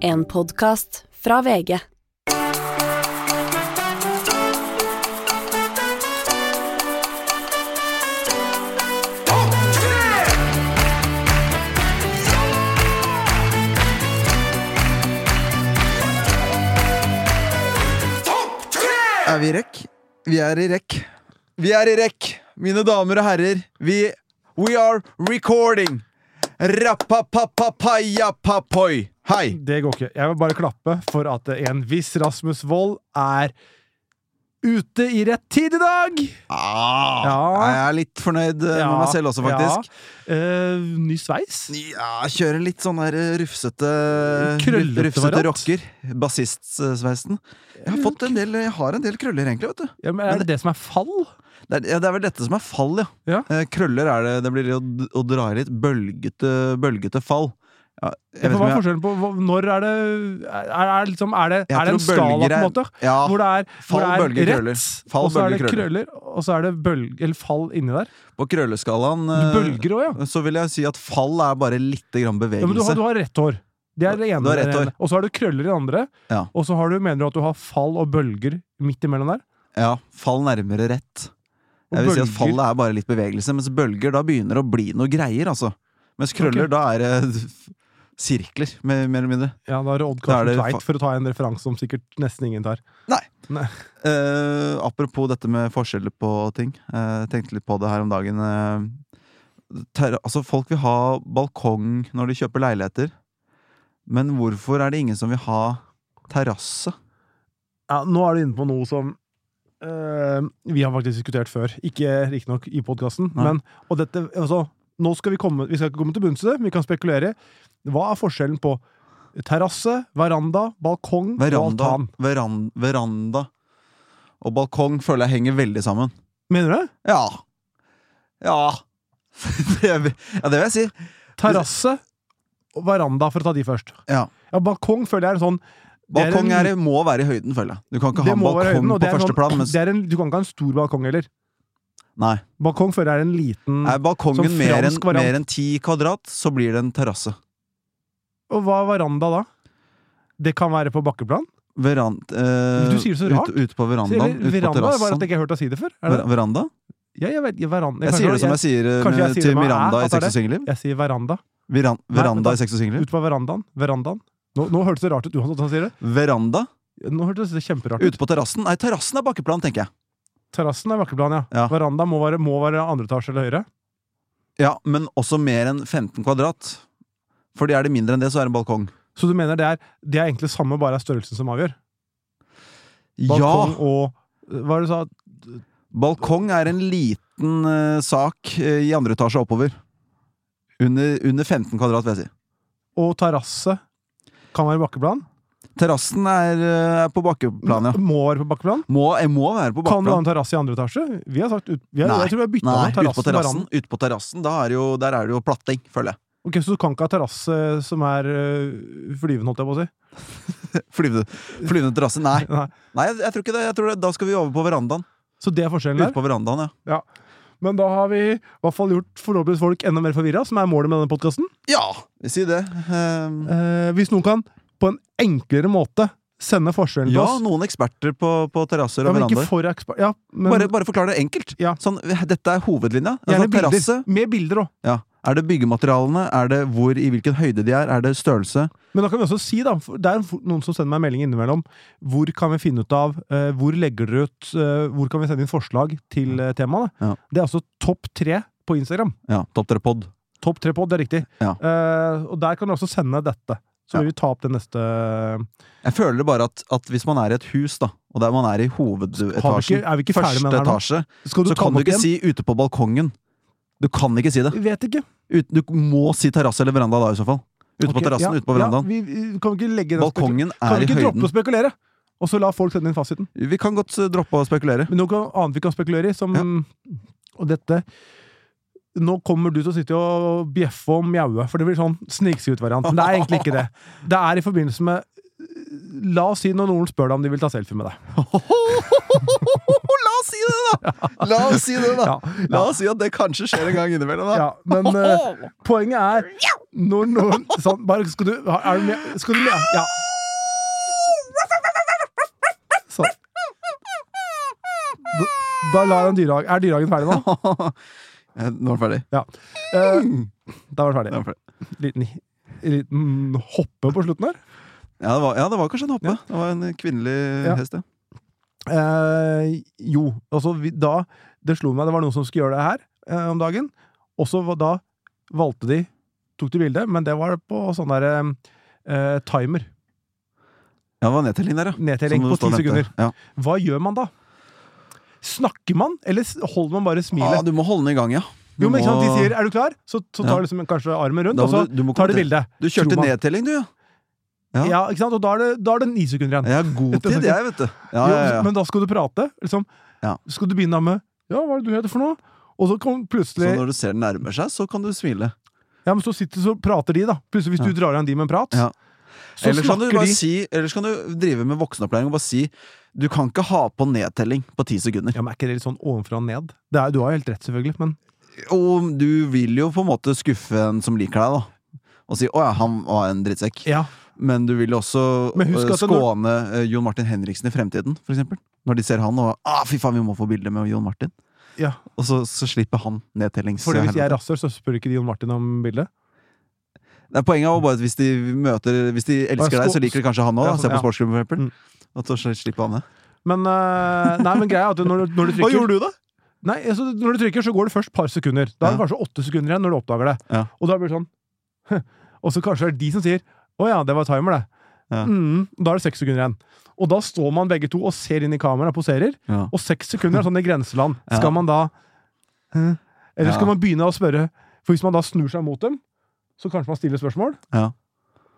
En podkast fra VG. Er vi i rekk? Vi er i rekk. Vi er i rekk, mine damer og herrer. Vi We are recording! Rappapapapapapapoi. Hei! Det går ikke. Jeg vil bare klappe for at en viss Rasmus Wold er ute i rett tid i dag! Ah, Ja. Jeg er litt fornøyd eh, med meg selv også, faktisk. Ja. Eh, ny sveis. Ja, Kjører litt sånn der eh, rufsete Krøllete Rufsete variant. rocker. Bassistsveisen. Jeg har fått en del Jeg har en del krøller, egentlig. vet du Ja, men er det det som er fall? Det er, ja, det er vel dette som er fall, ja. Ja. Eh, Krøller er det Det blir å, å dra i litt bølgete, bølgete fall. Ja, jeg vet ikke om For Hva er jeg- forskjellen på hva- når er det Er, er, liksom, er, det, Jeg er det en tror skala, på bølger en er- måte? Ja, Hvor det er, Fall, hvor det bølger, er krøller. rett, Fall, og så er det bølger, krøller. krøller, og så er det bølg, eller fall inni der. På krølleskalaen Du eh, bølger òg, ja. så vil jeg si at fall er bare litt grann ja men du, har, bevegelse. du har rett hår. Det er det ene. Du har rett det ene. hår. Og så har du krøller i det andre. Ja. Og så har du, mener du at du har fall og bølger midt imellom der? Ja, fall nærmere rett. Og Jeg vil si at bølger. fall er bare litt bevegelse, mens bølger da begynner å bli noe greier, altså. Mens krøller, Ok. da er det f- sirkler, mer mer eller mindre. Ja, da er det Odd Da er det Karsten fa- Tveit, for å ta en referanse som sikkert nesten ingen tar. Eh, apropos dette med forskjeller på ting. Eh, tenkte litt på det her om dagen. Eh, ter altså, folk vil ha balkong når de kjøper leiligheter. Men hvorfor er det ingen som vil ha terrasse? Ja, nå er du inne på noe som eh, vi har faktisk diskutert før. Ikke riktignok i podkasten, Nei. men og dette, altså, nå skal vi, komme, vi skal ikke komme til bunns i det, men vi kan spekulere. Hva er forskjellen på terrasse, veranda, balkong og Veranda, altan? veran, veranda og balkong føler jeg henger veldig sammen. Mener du det? Ja. Ja. det, vil- ja, det vil jeg si. Terrasse og veranda, for å ta de først. Ja. Ja, balkong føler jeg er en sånn det en- Balkong er, må være i høyden, føler jeg. Du kan ikke det ha en må være balkong høyden, og det på er en første sånn- plan. Mens, det er en, du kan ikke ha en stor balkong heller. nei. Balkong føler jeg er en liten Er balkongen Mm. Som mer enn fransk variant. mer enn ti kvadrat, så blir det en terrasse. Og hva er veranda da? Det kan være på bakkeplan? Veran- eh, Du sier det så rart. Ute ut på verandaen. Eller Ut på veranda? Bare at terrassen. jeg ikke har hørt deg si det før? Er Ver det? veranda? Ja, jeg vet, ja, veranda. Jeg Kanskje sier det som jeg sier, eh, kanskje jeg med- sier til det med Miranda æ, i at det er Sex og singelliv. Jeg sier veranda. Veran veranda Nei, i Sex og singelliv. Ute på verandaen. Verandaen. Nå, nå hørtes det rart ut, Johan, at han sier det. Veranda? Nå hørtes det kjemperart ut. Ute på terrassen? Nei, terrassen er bakkeplan, tenker jeg. Terrassen er bakkeplan, ja. Ja. Veranda må være, må være andre etasje eller høyere. Ja, men også mer enn 15 kvadrat. Fordi er det mindre enn det, så er det en balkong. Så du mener det er, det er egentlig samme, bare er størrelsen som avgjør? Balkong Ja! og Hva er det du sa? Balkong er en liten eh, sak eh, i andre etasje oppover. Under, under 15 kvadrat, vil jeg si. Og terrasse kan være bakkeplan? Terrassen er, eh, er på bakkeplan, ja. Må være på bakkeplan? Må, jeg må være på Kan du ha bakkeplan. en terrasse i andre etasje? Vi har sagt ut, vi har, Nei. Jeg tror vi har bytta Nei, med ute på terrassen. til terrassen. veranda. Ut på terrassen da er det jo, der er det jo platting, føler jeg. Ok, Så du kan ikke ha terrasse som er øh, flyvende, holdt jeg på å si? Flyvende, flyvende terrasse. Nei, Nei. Nei jeg, jeg tror ikke det. Jeg tror det. Da skal vi over på verandaen. Så det er forskjellen Ute der. på verandaen, ja. Men da har vi i hvert fall gjort forhåpentligvis folk enda mer forvirra, som er målet med denne podkasten. Ja, si det. Eh, hvis noen kan på en enklere måte sende forskjellen ja, til oss noen eksperter på, på terrasser ja, og men verandaer. ikke for eksper- ja, men bare, bare forklar det enkelt. Ja. Sånn, dette er hovedlinja. gjerne Altså, terrasse. bilder. Med bilder òg. Ja. Er det byggematerialene? Er det hvor, i hvilken høyde de er? Er det størrelse? Men da kan vi også si, da, for det er jo noen som sender meg melding innimellom, hvor kan vi finne ut av, eh, hvor legger dere ut, eh, hvor kan vi sende inn forslag til eh, temaene? Ja. Det er altså topp tre på Instagram. Ja, Topp dere pod. Topp tre på, det er riktig. Ja. Eh, og der kan du også sende dette. Så Ja. vil vi ta opp det neste Jeg føler bare at, at hvis man er i et hus, da, og der man er i Har vi ikke, hovedetasjen er vi ikke ferdig Første med den her nå? etasje. Skal Så ta kan den du opp ikke igjen? si 'ute på balkongen'. Du kan ikke si det. Vet ikke. Ut, du må si terrasse eller veranda da, i så fall. Ute på Ok, terrassen, ja, ute på verandaen. Ja, vi, vi kan vi ikke legge den spekul- Balkongen Kan er vi i ikke droppe høyden. å spekulere? Og så la folk sende inn fasiten. Vi kan godt eh, droppe å spekulere. Men noe annet vi kan spekulere i, som Og dette Nå kommer du til å sitte og bjeffe og mjaue, for det blir sånn snikskryt-variant. Men det er egentlig ikke det. Det er i forbindelse med La oss si når noen spør deg om de vil ta selfie med deg. La oss si det, da! La oss si det, da! Ja, La oss si at det kanskje skjer en gang innimellom, da. ja, men eh, poenget er når noen sånn, bare, Skal du er du med? Skal du med? Ja. Sånn. Da, da lar han dyrehag- Er dyrehagen ferdig nå? Eh, Nå er den ferdig. Ja. Eh, da var den Nå er den ferdig. ferdig. Liten, liten hoppe på slutten her. Ja, det var, ja, det var kanskje en hoppe. Ja. Det var en kvinnelig Ja. hest, ja. Eh, jo, altså vi, da Det slo meg, det var noen som skulle gjøre det her eh, om dagen. Og så var- da valgte de Tok de bilde, men det var på sånn derre eh, timer. Ja, det var nedtelling der, ja. Nedtelling Som du på står ti og venter. sekunder. Ja. Hva gjør man da? Snakker man, eller s- holder man bare Ah, smilet? du må holde den i gang, ja. Du jo, men ikke sant, De må- sier 'er du klar?' Så, så tar Ja. liksom kanskje armen rundt, Da må og så du- du må tar de kommentere. bildet. Du kjørte Tror man. nedtelling, du, ja. Ja. Ja. ikke sant? Og da er, det, da er det ni sekunder igjen. Jeg har god tid, jeg, vet du. Ja, ja, Jo, ja. Men da skal du prate. Liksom. Ja. Skal du begynne med 'ja, hva er det du heter for noe?' Og så kom Så plutselig når du ser den nærmer seg, så kan du smile. Ja, men så sitter så prater de, da. Plutselig hvis Ja. du drar igjen de med en prat, Ja. så ellers, kan du snakker bare de si, ellers kan du drive med voksenopplæring og bare si du kan ikke ha på nedtelling på ti sekunder. Ja, men Er ikke det litt sånn ovenfra og ned? Det er, du har helt rett, selvfølgelig, men Og du vil jo på en måte skuffe en som liker deg, da. Og si 'å ja, han var en drittsekk'. ja. Men du vil jo også Men husk eh, at det- skåne eh, Jon Martin Henriksen i fremtiden, for eksempel. Når de ser han og ah, 'fy faen, vi må få bilde med Jon Martin'. ja. Og så, så slipper han nedtellings... Fordi hvis jeg er rasshøl, så spør ikke de Jon Martin om bildet. Nei, poenget er jo bare at hvis de møter Hvis de elsker Ja, deg, så sko- liker de kanskje han òg. Ja, sånn, Se på ja. sportsklubben, for eksempel. Mm. At så sl- slipper han det. Men eh, Nei, men greia er at når du, når du trykker du, da? Nei, altså, når du trykker, så går det først et par sekunder. Da er det Ja. kanskje åtte sekunder igjen når du oppdager det. Ja. Og da blir det sånn Og så kanskje det er de som sier 'Å ja, det var timer, det'. Ja. Mm, da er det seks sekunder igjen. Og da står man begge to og ser inn i kameraet og poserer. Ja. Og seks sekunder er sånn i grenseland. Ja. Skal man da eh, Eller skal Ja. man begynne å spørre? For hvis man da snur seg mot dem, så kanskje man stiller spørsmål, Ja.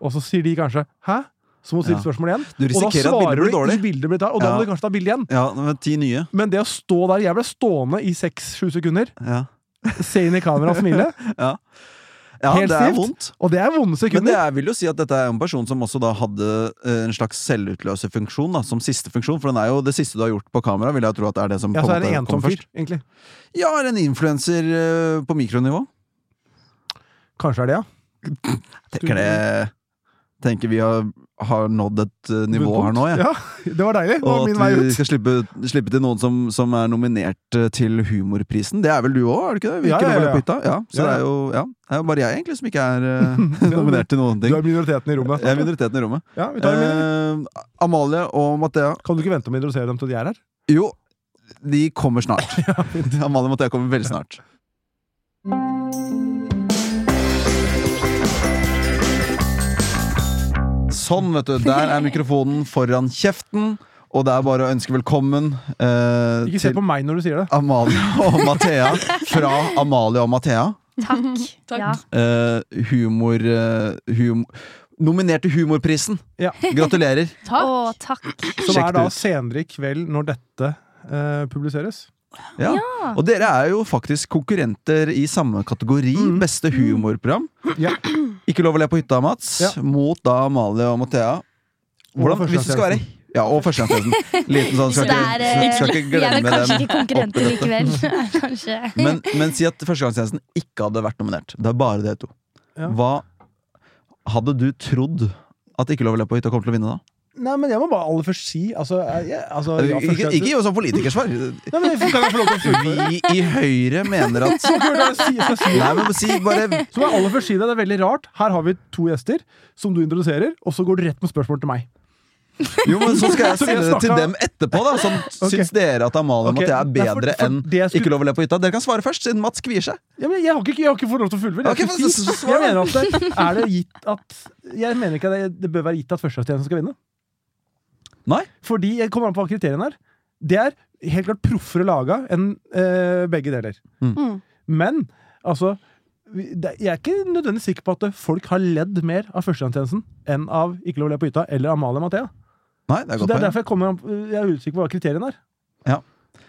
og så sier de kanskje 'hæ?' Så må du stille Ja. spørsmål igjen. Du Og da risikerer at svarer bildet du blir dårlig. ikke bildet blir der, og da Ja. må du kanskje ta bilde igjen. Ja, med ti nye. Men det å stå der Jeg ble stående i seks-sju sekunder, Ja, se inn i kameraet og smile, ja Helt det er stivt. vondt. og det er vonde Men det sekunder. er, vil jo si at dette er en person som også da hadde eh, en slags selvutløserfunksjon da, som siste funksjon. For den er jo det siste du har gjort på kamera, vil jeg tro at det er det som Ja, så på en er det måte ensom kommer fyr, først. egentlig. Ja, eller en influenser eh, på mikronivå. Kanskje er det, ja. Tenker det Tenker vi har, har nådd et eh, nivå her nå, jeg. Ja, det var deilig. Det var Og min vei at vi ut. skal slippe, slippe til noen som, som er nominert eh, til Humorprisen. Det er vel du òg, er det ikke det? Vi Ja, ikke ja, lover ja. det på hytta. Ja, så Ja, det ja. er jo ja, det er jo bare jeg egentlig som ikke er eh, nominert til noen Du ting. er minoriteten i rommet. Jeg er minoriteten i rommet. Ja, vi tar en minoritet. Eh, Amalie og Mathea Kan du ikke vente med å introdusere dem til de er her? Jo, de kommer snart. Amalie og Mathea kommer veldig snart. Sånn, vet du. Der er mikrofonen foran kjeften. Og det er bare å ønske velkommen eh, Ikke se på meg når du sier det. Amalie og Mathea fra Amalie og Mathea. Mhm. Takk. Ja. Eh, humor, eh, hum Nominert til Humorprisen! Ja. Gratulerer! Takk. Å, takk. Som Sjekk er da det ut. senere i kveld, når dette eh, publiseres. Ja. Og dere er jo faktisk konkurrenter i samme kategori. Beste humorprogram. Mm. Ja. Ikke lov å le på hytta, Mats. Ja. Mot da Amalie og Mathea. Hvordan, Og hvis du skal være Ja, og førstegangstjenesten. Liten sånn, Så skal det ikke, er eh, skal ikke Vi er vel glemme kanskje den. ikke konkurrenter likevel. kanskje. Men, men si at førstegangstjenesten ikke hadde vært nominert. Det er bare dere to. Ja. Hva hadde du trodd at Ikke lov å le på hytta kom til å vinne, da? Nei, men jeg må bare aller først si altså, jeg- jeg- altså, ja, først- Ikke, ikke gi oss sånn politikersvar. Nei, men jeg- Kan jeg få lov til å si Vi i Høyre mener at det? Si- skal jeg si det? Nei, men si bare Så må jeg aller først si det, det er veldig rart. Her har vi to gjester som du introduserer, og så går du rett med spørsmål til meg. Jo, men så skal jeg Så vi stille har det til snakket- dem etterpå, da. Sånn, Ok. Syns dere at Amalie og Ok, Mathea er nei, for- bedre for enn det jeg skulle- Ikke lov å le på hytta? Dere kan svare først, siden Mats kvier seg. Ja, men jeg, har ikke, jeg har ikke fått lov til å fullføre. Ok, Jeg, men skal så- så- si, så- jeg mener at det, er det gitt at Jeg mener ikke at det, det bør være gitt at førstegangstjenesten skal vinne. Nei. Fordi jeg kommer an på hva kriteriene er. Det er helt klart proffere laga enn eh, begge deler. Mm. Mm. Men altså vi- det, Jeg er ikke nødvendigvis sikker på at folk har ledd mer av førstegangstjenesten enn av Ikke lov å le på hytta eller Amalie Mathea. Nei, det er Så godt det er poeng. derfor jeg, kommer, an på- jeg er usikker på hva kriteriene er. Ja.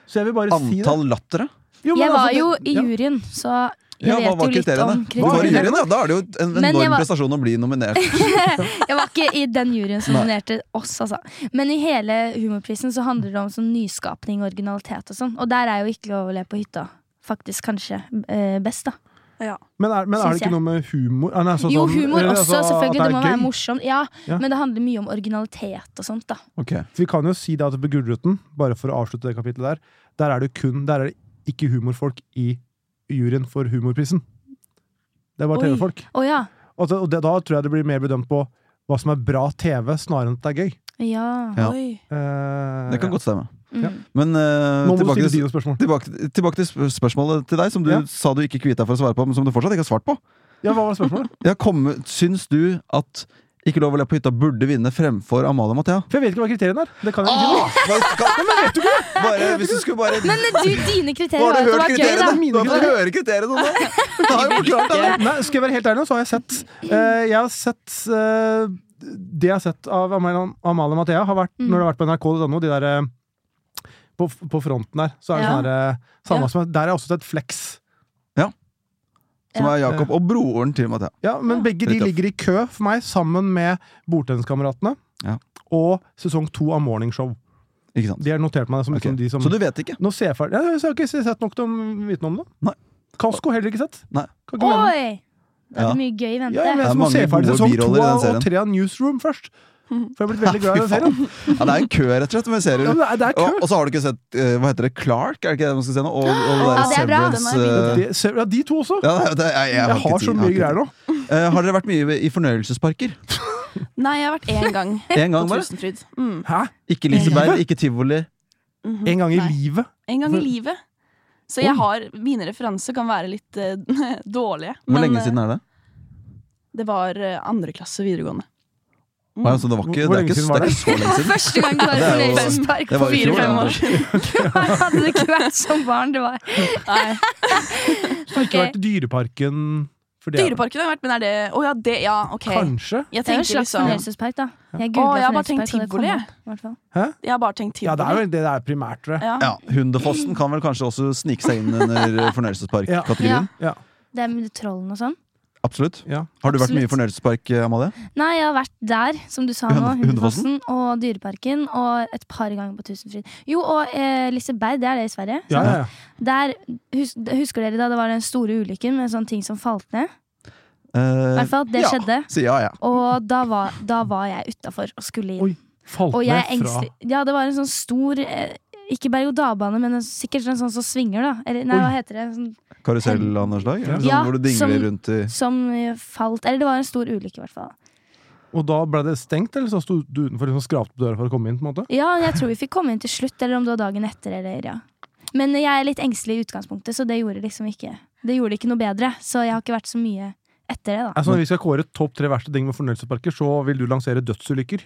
Så jeg vil bare si det. Antall lattere. Jo, men Jeg altså, var det- jo i ja. juryen, så Jeg Ja, vet hva var jo litt kriteriene? om Hva var kriteriene. juryen, ja? Da er det jo en Men jeg enorm var- prestasjon å bli nominert. Jeg var ikke i den juryen som Nei. nominerte oss, altså. Men i hele Humorprisen så handler det om sånn nyskapning og originalitet og sånn. Og der er jo ikke lov å le på hytta. Faktisk kanskje eh, best, da. Men er, men er Synes det jeg. ikke noe med humor? Ah, nei, så Jo, sånn- humor eh, eller også, altså, at selvfølgelig. er Det må være gøy. morsomt. Ja, Ja. Men det handler mye om originalitet og sånt, da. Ok. Så Vi kan jo si det at på Gullruten, bare for å avslutte det kapitlet der, der er det jo kun Der er det ikke humorfolk i juryen for Humorprisen. Det er bare Oi. TV-folk. Å ja. Og, så- og det, da tror jeg det blir mer bedømt på hva som er bra TV, snarere enn at det er gøy. Ja. Ja. Oi. Eh, Det kan godt stemme. Mm. Ja. Men eh, Nå må du tilbake, stille til, dine spørsmål. tilbake, tilbake til sp- spørsmålet til deg, som du Ja. sa du ikke kvitta for å svare på, men som du fortsatt ikke har svart på. Ja, hva var spørsmålet? Jeg kommer, syns du at Ikke lov å le på hytta burde vinne fremfor Amalie og Mathea? For jeg vet ikke hva kriteriene er. Det kan jeg ikke si nå. Ah! Hva skal- Bare, hvis du skulle bare Men du, dine kriterier Nå har du var jo at det hørt var gøy, da. kriteriene! Mine Nå får du høre kriteriene nå! Jeg har jo forklart det! Nei, skal jeg være helt ærlig, nå, så har jeg sett eh, Jeg har sett eh, Det jeg har sett av Amalie Amalie Mathea, har vært, Mm. når det har vært på nrk.no, de der eh, på, på fronten der, så er det Ja. sånn der, eh, samme Ja. som Der har jeg også sett Flex. Som er Jakob og broren til Mathea. Ja, men begge de Riktig. ligger i kø for meg, sammen med Bordtenniskameratene. Ja. Og sesong to av Morningshow. Ikke sant? De har notert meg det som Ok. liksom de som Så du vet ikke? Nå ser jeg ferdig. Ja, så har jeg ikke sett nok til å vite noe om det. Nei. Kasko heller ikke sett. Nei. Kan ikke mene. Oi! Det er Ja. mye gøy i vente. Ja, jeg Det mener, er jeg må mange se ferdig gode sesong to biroller i den av- serien. og tre av Newsroom først. For jeg er blitt veldig glad i den Fy serien. Ja, det er en kø, rett og slett, med serier. Ja, men det er, det er Og, kø. og så har du ikke sett eh, Hva heter det? Clark? Er det ikke det man skal se nå? Og, og det der Ja, det er bra. Severance, Den er eh, Det, ser- ja, de to også. ja, det, det, jeg, jeg, Jeg har så mye greier nå. Eh, har dere vært mye i fornøyelsesparker? Nei, jeg har vært én gang En på gang bare? Tusenfryd. Mm. Hæ? Ikke Liseberg, ikke tivoli. Mhm. Eh, En gang i Nei. livet. En gang i Hvor- livet. Så jeg har, mine referanser kan være litt eh, dårlige. Hvor lenge eh, siden er det? Det var eh, andre klasse videregående. Mm. Nei, altså, det var ikke, Hvor- hvor det er lenge ikke, siden var det er ikke så lenge siden. Første gang du var i Det er jo- fornøyelsespark det på var i fjor, fire-fem ja. år siden. Hadde det ikke vært som barn det var. Nei. Så har ikke Ok. vært i Dyreparken. For det er- Dyreparken har jeg vært, men er det Å ja, det Ja, OK. Kanskje. Jeg Det er jo en tenker slags liksom fornøyelsespark, da. sånn? Jeg Å, googlet jeg har bare fornøyelsespark, tenkt og det tivoli, kom jeg. opp, i hvert fall. Jeg har bare tenkt Ja, det er tivoli. jo det det er primært, tror jeg. Ja, Ja, Hundefossen kan vel kanskje også snike seg inn under Ja. fornøyelsesparkkategorien? Ja. Det er med trollen og sånn. Absolutt. Ja. Har du vært mye i Absolutt. fornøyelsespark, eh, Amalie? Nei, jeg har vært der, som du sa nå. Hunde- Hundefossen? Hundefossen og Dyreparken. Og et par ganger på Tusenfryd. Jo, og eh, Liseberg, det er det i Sverige. Ja, ja, ja. Der, hus, husker dere da det var den store ulykken med sånne ting som falt ned? I Eh, hvert fall, det ja. skjedde. Så ja, ja. Og da var, da var jeg utafor og skulle inn. Oi, Falt og jeg er ned fra engstelig. Ja, det var en sånn stor eh, Ikke berg-og-dal-bane, men en, sikkert en sånn som svinger, da. Eller nei, Oi. hva heter det? Sånn, Karusell av noe slag? eller Sånn, Ja, hvor du dingler som- rundt i som eh, falt Eller det var en stor ulykke, i hvert fall. Og da ble det stengt, eller så sto du utenfor liksom, skrapte på døra for å komme inn? på en måte? Ja, jeg tror vi fikk komme inn til slutt, eller om det var dagen etter, eller ja. Men jeg er litt engstelig i utgangspunktet, så det gjorde liksom ikke Det gjorde ikke noe bedre. Så jeg har ikke vært så mye etter det, da. Altså, når vi skal kåre topp tre verste ting med fornøyelsesparker, så vil du lansere dødsulykker.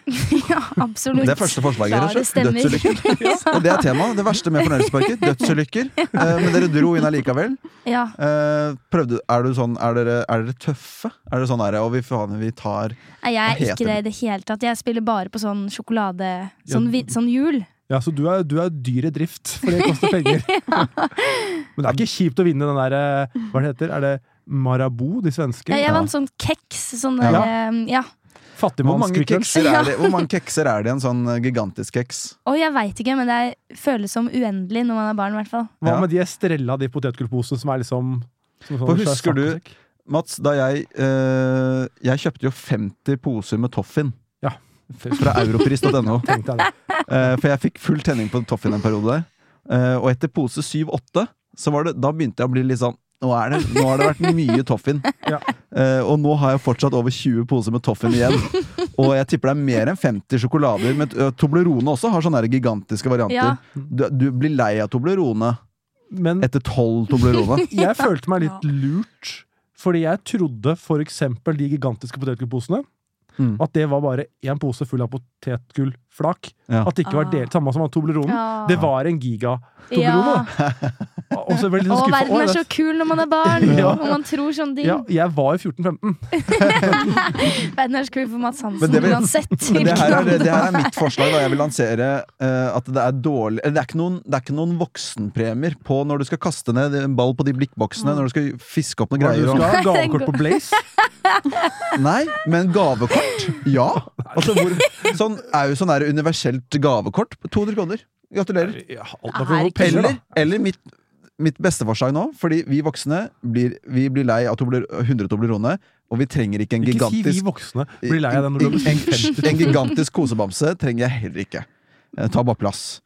Ja, absolutt. Det er første forslaget. Ja, rett og det slett. stemmer. Dødsulykker. Og det er temaet. Det verste med fornøyelsesparker. Dødsulykker. Eh, men dere dro inn allikevel. ja. Eh, prøvde, er, du sånn, er, dere, er dere tøffe? Er det sånn derre Og vi faen, vi tar Nei, jeg Hva er heter ikke det i det hele tatt. Jeg spiller bare på sånn sjokolade Ja. Sånn, vi, sånn hjul. Ja, Så du er, du er dyr i drift, for det koster penger. Men det er ikke kjipt å vinne den der eh, Hva det heter? Er det Marabou, de svenske? Jeg, jeg Ja. vant sånn keks. Sånn Ja. der, eh, ja. Hvor mange Fattigmannskvikklunsj. kekser er det, hvor mange kekser er det i en sånn eh, gigantisk keks? Og jeg veit ikke, men det er, føles som uendelig når man er barn, i hvert fall. Hva Ja. med de Estrella, de potetgullposene som er liksom som For svær husker du- stakkesekk? Mats, da jeg eh, Jeg kjøpte jo 50 poser med Toffin fra europris.no. Tenkte jeg det. Eh, for jeg fikk full tenning på Toffin en periode der. Eh, og etter pose 7-8, så var det, da begynte jeg å bli litt sånn nå, er det, nå har det vært mye Toffin. Ja. Eh, og nå har jeg fortsatt over 20 poser med Toffin igjen. Og jeg tipper det er mer enn 50 sjokolader. Men eh, Toblerone også har sånne der gigantiske varianter. Ja. Du, du blir lei av Toblerone Men etter 12 Toblerone. jeg følte meg litt lurt, fordi jeg trodde for eksempel de gigantiske potetgullposene Mm. At det var bare én pose full av pot- potetgullflak. Ja. At det ikke var Ah. delt, samme som han Tobleronen. Det var en giga. Toblerone, Og så ble jeg litt Å, sånn skuffet. verden Oi, er det- så kul når man er barn! Ja. Og man tror sånne ting. ja, jeg var jo 14-15. Verden er så kul for Mads Men Hansen det vil- uansett. Men det her, er, hvilken- det her er mitt forslag. Da. Jeg vil lansere eh, at det er dårlig eller det, er ikke noen, det er ikke noen voksenpremier på når du skal kaste ned en ball på de blikkboksene, når du skal fiske opp noen Hva er det greier. Du skal Og, ha gavekort på Blaze. nei, men gavekort? Ja! Altså, hvor, sånn er jo sånn er det universelt gavekort. 200 kroner. Gratulerer. Ja, alt er for Herregud. penger, da. Eller, eller mitt, mitt beste forslag nå, fordi vi voksne blir, vi blir lei av tobler, 100 Toblerone, og vi trenger ikke en Ikke si vi gigantisk voksne blir lei av den når du har en, bestilt 50 en gigantisk kosebamse trenger jeg heller ikke. Eh, Ta bare plass.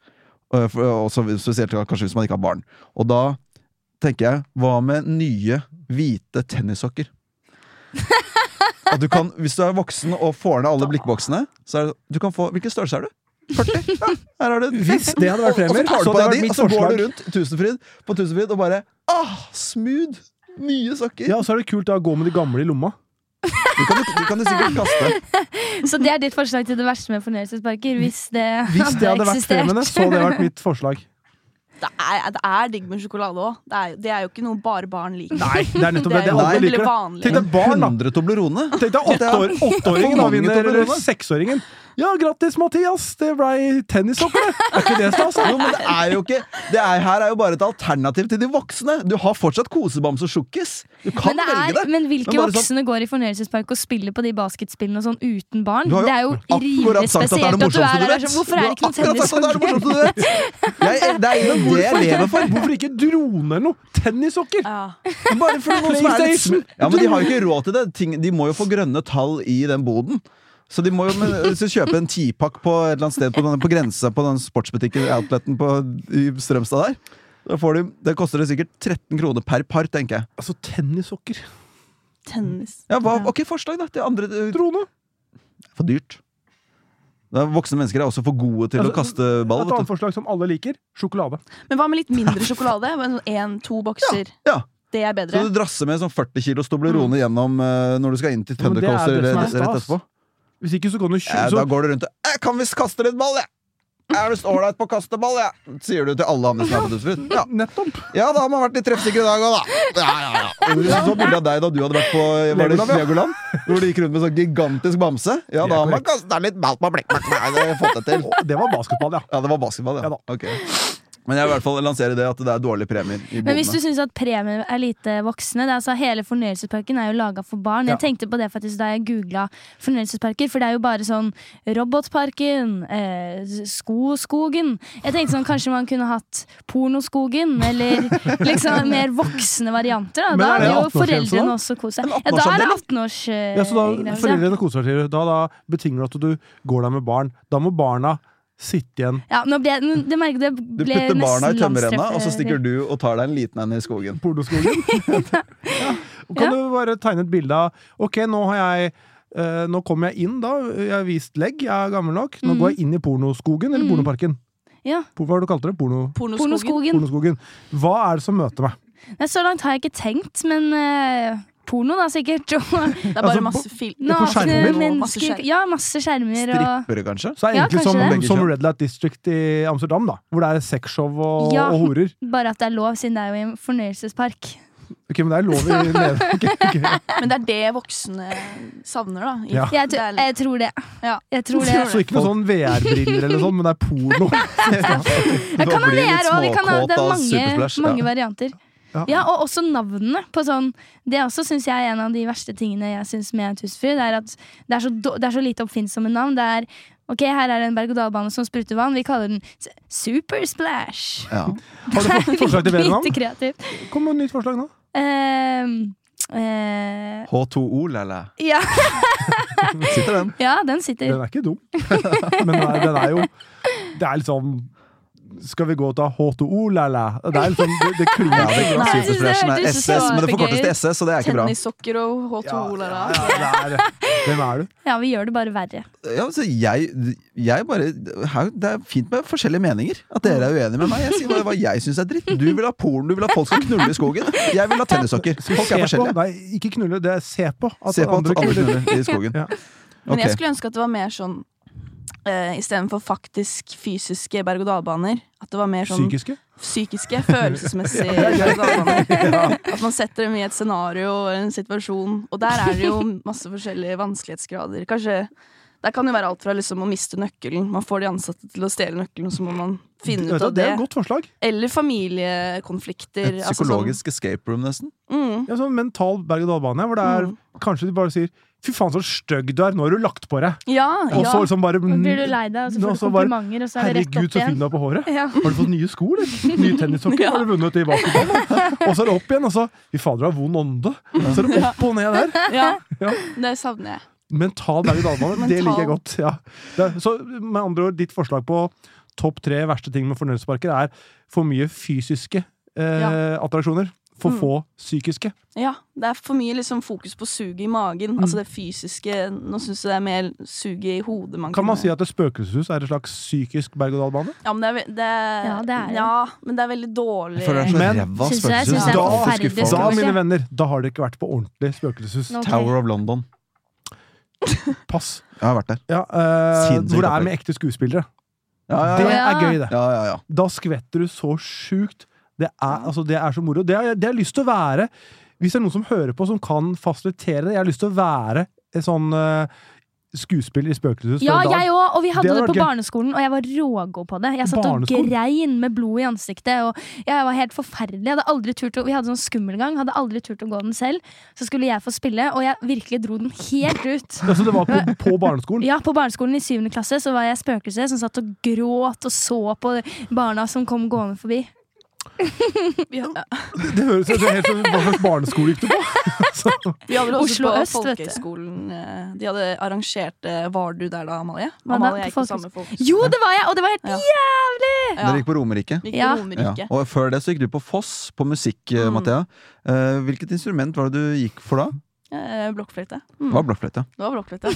Eh, for- Og så spesielt kanskje hvis man ikke har barn. Og da tenker jeg, hva med nye hvite tennissokker? At du kan, hvis du er voksen og får ned alle blikkboksene, så er det, du kan få Hvilken størrelse er du? 40? Ja, her er det Hvis det hadde vært og så premier, tar du så på deg hadde det vært de, og mitt så går forslag. du rundt Tusenfryd på Tusenfryd og bare Ah, smooth! Nye sokker! Ja, og så er det kult da å gå med de gamle i lomma. De kan, du- de kan du sikkert kaste. Så det er ditt forslag til det verste med fornøyelsesparker? Hvis det, Hvis det hadde vært eksistert. premiene, så hadde det vært mitt forslag. Det er, det er digg med sjokolade òg. Det, er- det er jo ikke noe bare barn liker. Nei, det er nettopp det. det er Det jo er alle veldig liker det. vanlig. Tenk deg barn, da. 100 Toblerone! Tenk deg åtteår- åtteåringen da For mange vinner Toblerone. seksåringen. Ja, grattis, Mathias! Det blei tennissokker, det! Er ikke det stas? Jo, men det er jo ikke Det er, her er jo bare et alternativ til de voksne. Du har fortsatt kosebamse og sjokkis. Du kan Men, det velge er, det. men hvilke Men bare sånn- voksne går i fornøyelsespark og spiller på de basketspillene og sånn uten barn? Du har jo Det er jo Akkurat rimelig sagt at det er spesielt det at du morsomste er du der. og vet. er sånn, Hvorfor er det ikke noe Du har akkurat sagt at det er det tennissokker? morsomste du vet. Jeg, det er jo det jeg lever for. Hvorfor ikke drone eller noe? Tennissokker! Ja. Bare fordi noen som er litt PlayStation. sm- Ja, men de har jo ikke råd til det. Ting, de må jo få grønne tall i den boden. Så de må jo men, hvis du kjøper en tipakk på et eller annet sted på, den, på grensa på den sportsbutikken outleten på, i Strømstad der. Da får du, det koster det sikkert 13 kroner per par, tenker jeg. Altså, tennissokker. Tennis. Ja, hva, ok, forslag da, til andre eh, Drone. for dyrt. Det er, voksne mennesker er også for gode til å Altså, kaste ball. Et Vet annet du. forslag som alle liker. Sjokolade. Men hva med litt mindre sjokolade? Én-to bokser. Ja, Det er Så bedre. du drasser med sånn 40 kilos Toblerone gjennom eh, når du skal inn til Mm. Ja, men det er Thundercoaster det som eh, er rett, rett stas. etterpå? Hvis ikke så kan du kjøpe Eh, da går du rundt og «Jeg 'Kan visst kaste litt ball, jeg'. Jeg er visst ålreit på å kaste ball, jeg', sier du til alle andre som er på Tusenfryd. Ja. Nettopp! ja, da har man vært litt treffsikker i dag òg, da. Ja, ja, ja. Vi Så bilde av deg da du hadde vært på var det Legoland, ja. Legoland, hvor du gikk rundt med sånn gigantisk bamse. Ja, da har man kasta litt ball på blekk... blekk, blekk. Det har jeg fått det til. Å, Det var basketball, ja. Ja, det var basketball, ja. Ja da. Ok. Men jeg vil i hvert fall lansere det at det er dårlige premier. I Men hvis du båtene. syns at premier er lite voksne det er altså Hele fornøyelsesparken er jo laga for barn. Jeg tenkte på det faktisk da jeg googla fornøyelsesparker, for det er jo bare sånn Robotparken, eh, Skoskogen Jeg tenkte sånn kanskje man kunne hatt Pornoskogen, eller liksom mer voksne varianter. Da, Men da er det hadde jo 18-årsgrense da? foreldrene også kost seg. En Ja, da er det 18-årsavdeling? 18-års eh, ja så da, grense. foreldrene koser seg. Da, da betinger det at du går der med barn. Da må barna sitte igjen. Ja, nå ble, nå- det merket jeg Du ble putter barna i nesten tømmerrenna, landstreffe- og så stikker du og tar deg en liten en i skogen. Pornoskogen. ja. Og Kan du bare tegne et bilde av Ok, nå har jeg eh, nå kommer jeg inn, da. Jeg har vist legg, jeg er gammel nok. Nå Mhm. går jeg inn i pornoskogen, eller Mhm. pornoparken. Ja, Hvor- Hva har du kalt det? Porno, Pornoskogen. Pornoskogen. pornoskogen. Hva er det som møter meg? Nei, så langt har jeg ikke tenkt, men eh, porno da sikkert. Og Det er bare Altså, masse film. nakne skjermer? Masse mennesker. skjerm. Ja, masse skjermer og Strippere, kanskje? Så det er Ja, egentlig kanskje som, det. som Red Light District i Amsterdam, da. Hvor det er sexshow og, Ja. og horer. Bare at det er lov, siden det er jo en fornøyelsespark. Ok, men det er lov i nede. Ok, ok. Men det er det voksne savner, da. i- Ja. Jeg, Det tr er litt- jeg tror det. Ja. Jeg tror det. Så ikke noe sånn VR-briller eller sånn, men det er porno. Jeg kan ha blir litt VR òg. Det småkåt er av mange, Supersplash, ja. mange varianter. Ja. Ja, Og også navnene. på sånn Det er også synes jeg er en av de verste tingene jeg syns med Tusenfryd. Det er at det er så, då- det er så lite oppfinnsomme navn. Det er Ok, her er det en berg-og-dal-bane som spruter vann. Vi kaller den S- Supersplash. Ja. Har du fått forslag til bedre navn? Lite kreativt. Kom med et nytt forslag nå. Ehm, eh, H2O, lælæ. ja, Sitter den? ja, den sitter. Den er ikke dum. Men den er, den er jo Det er liksom Skal vi gå og ta H2O, la-la? Det er liksom Det, det Ja, klinger det er ikke. klart Nei. Supersplashen Jeg er synes det SS, men det hørtes forkortes til SS, så det er ikke bra. Tennissokker og H2O. Ja, la, ja, la. ja, det er, hvem er du? Ja, vi gjør det bare verre. Ja, så jeg, jeg bare, her, det er fint med forskjellige meninger. At dere er uenige med meg. Jeg sier bare hva jeg syns er dritt. Du vil ha porno, du vil at folk skal knulle i skogen. Jeg vil ha tennissokker. Folk er Se på. forskjellige. Nei, ikke knulle. Det er se på. At Se på at andre alle knuller. knuller i skogen. Ja. Men Ok. jeg skulle ønske at det var mer sånn eh, istedenfor faktisk fysiske berg-og-dal-baner. At det var mer sånn Psykiske? psykiske, følelsesmessige berg-og-dal-baner. At man setter dem i et scenario og en situasjon. Og der er det jo masse forskjellige vanskelighetsgrader. Kanskje der kan jo være alt fra liksom å miste nøkkelen, man får de ansatte til å stjele nøkkelen, så må man finne Vet ut du, av det det. er et godt forslag. Eller familiekonflikter. altså sånn. Et psykologisk escape room, nesten. mm, Ja, sånn mental berg-og-dal-bane, hvor det er Mm. kanskje de bare sier 'fy faen, så stygg du er', nå har du lagt på deg', ja, og så ja. liksom bare Så blir du lei deg, og så Nå, får du så bare, komplimenter, og så er det rett Herregud, opp så fin igjen. du er på håret. Ja. Har du fått nye sko, eller? Nye tennissokker? Ja. Har du vunnet i basketball? da?» Og så er det opp igjen, og så Fy fader, du har vond ånde. Så er det opp og ned der. ja. Ja. Det savner jeg. Mental berg-og-dal-bane, det Mental. liker jeg godt. Ja. Det, er- så med andre ord, ditt forslag på topp tre verste ting med fornøyelsesparker er for mye fysiske eh, attraksjoner. For Mm. få psykiske. Ja, Det er for mye liksom fokus på suget i magen. Altså det fysiske. Nå syns jeg det er mer suget i hodet. Man Kan man kunne- si at et spøkelseshus er et slags psykisk berg-og-dal-bane? Ja, men det er, ve- det er, Ja, det er det. ja, men det er veldig Jeg dårlig. føler det er Men- så ræva Synes jeg- spøkelseshus. synes er jeg Da- forferdelig Fuske Da, folk. Kanskje. mine venner, da har dere ikke vært på ordentlig spøkelseshus. Nå- Tower of London. Pass. Jeg har vært der. Ja, eh, Sinnssykt hvor det er opplegg. med ekte skuespillere. Ja, ja, Det ja. Ja. er gøy, det. ja, ja, ja. Da skvetter du så sjukt. Det er, altså, det er så moro. Det har, jeg- det har jeg lyst til å være Hvis det er noen som hører på, som kan fasilitere det Jeg har lyst til å være en sånn eh, skuespiller i Spøkelseshus. for Ja, en dag. jeg òg! Og vi hadde Det det, hadde på vært gøy. barneskolen, og jeg var rågod på det. Jeg satt og Barneskolen? grein med blod i ansiktet, og jeg var helt forferdelig. Jeg hadde aldri turt å, vi hadde sånn skummelgang, hadde aldri turt å gå den selv. Så skulle jeg få spille, og jeg virkelig dro den helt ut. Altså, det var på, på barneskolen. Ja, På barneskolen i syvende klasse så var jeg spøkelse som satt og gråt og så på barna som kom gående forbi. Vi, ja, Det høres ut som helt som hva slags barneskole gikk du på? Så, vi hadde det også Oslo på Øst, vet du. folkehøyskolen. eh, De hadde arrangert eh, Var du der da, Amalie? Var da Amalie på gikk på samme folkehøyskole. Jo, det var jeg! Og det var helt Ja. Ja, Dere gikk på Romerike. vi gikk Ja. på Romerike. Ja. Og før det så gikk du på Foss, på musikk, Mm. Mathea. Eh, hvilket instrument var det du gikk for da? Eh, Blokkfløyte. Det Mm. var blokkfløyte. Det var blokkfløyte.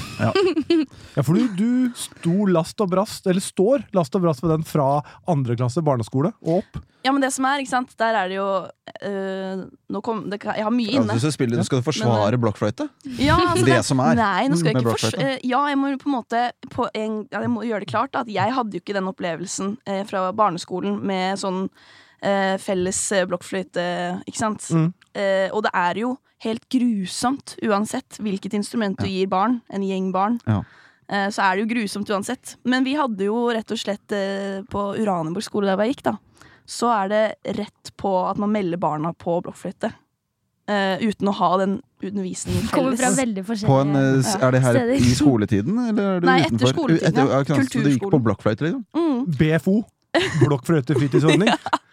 ja, for du, du sto last og brast, eller står last og brast med den fra andre klasse barneskole og opp. Ja, men det som er, ikke sant, der er det jo eh, Nå kom det, Jeg har mye Ja, inne. du skal spille, du skal forsvare blokkfløyte. Ja, altså, Det som er. Nei, nå skal jeg Med ikke fors... blokkfløyte. eh, Ja, jeg må jo på en måte på en, ja, Jeg må gjøre det klart da, at jeg hadde jo ikke den opplevelsen eh, fra barneskolen med sånn eh, felles eh, blokkfløyte, ikke sant? Mm. Eh, og det er jo helt grusomt uansett hvilket instrument du gir barn, en gjeng barn. Ja. eh, Så er det jo grusomt uansett. Men vi hadde jo rett og slett eh, på Uraneborg skole der hvor jeg gikk, da, så er det rett på at man melder barna på blokkfløyte. eh, uten å ha den undervisningen Det kommer fra felles. veldig På en, eh, forskjellige s- er det her Steder. i skoletiden, eller er du Nei, etter utenfor? skoletiden, ja. ja, ikke sant, så Du gikk på Kulturskolen. blokkfløyte, liksom? Mm. BFO. Blokkfløyte fritidsordning.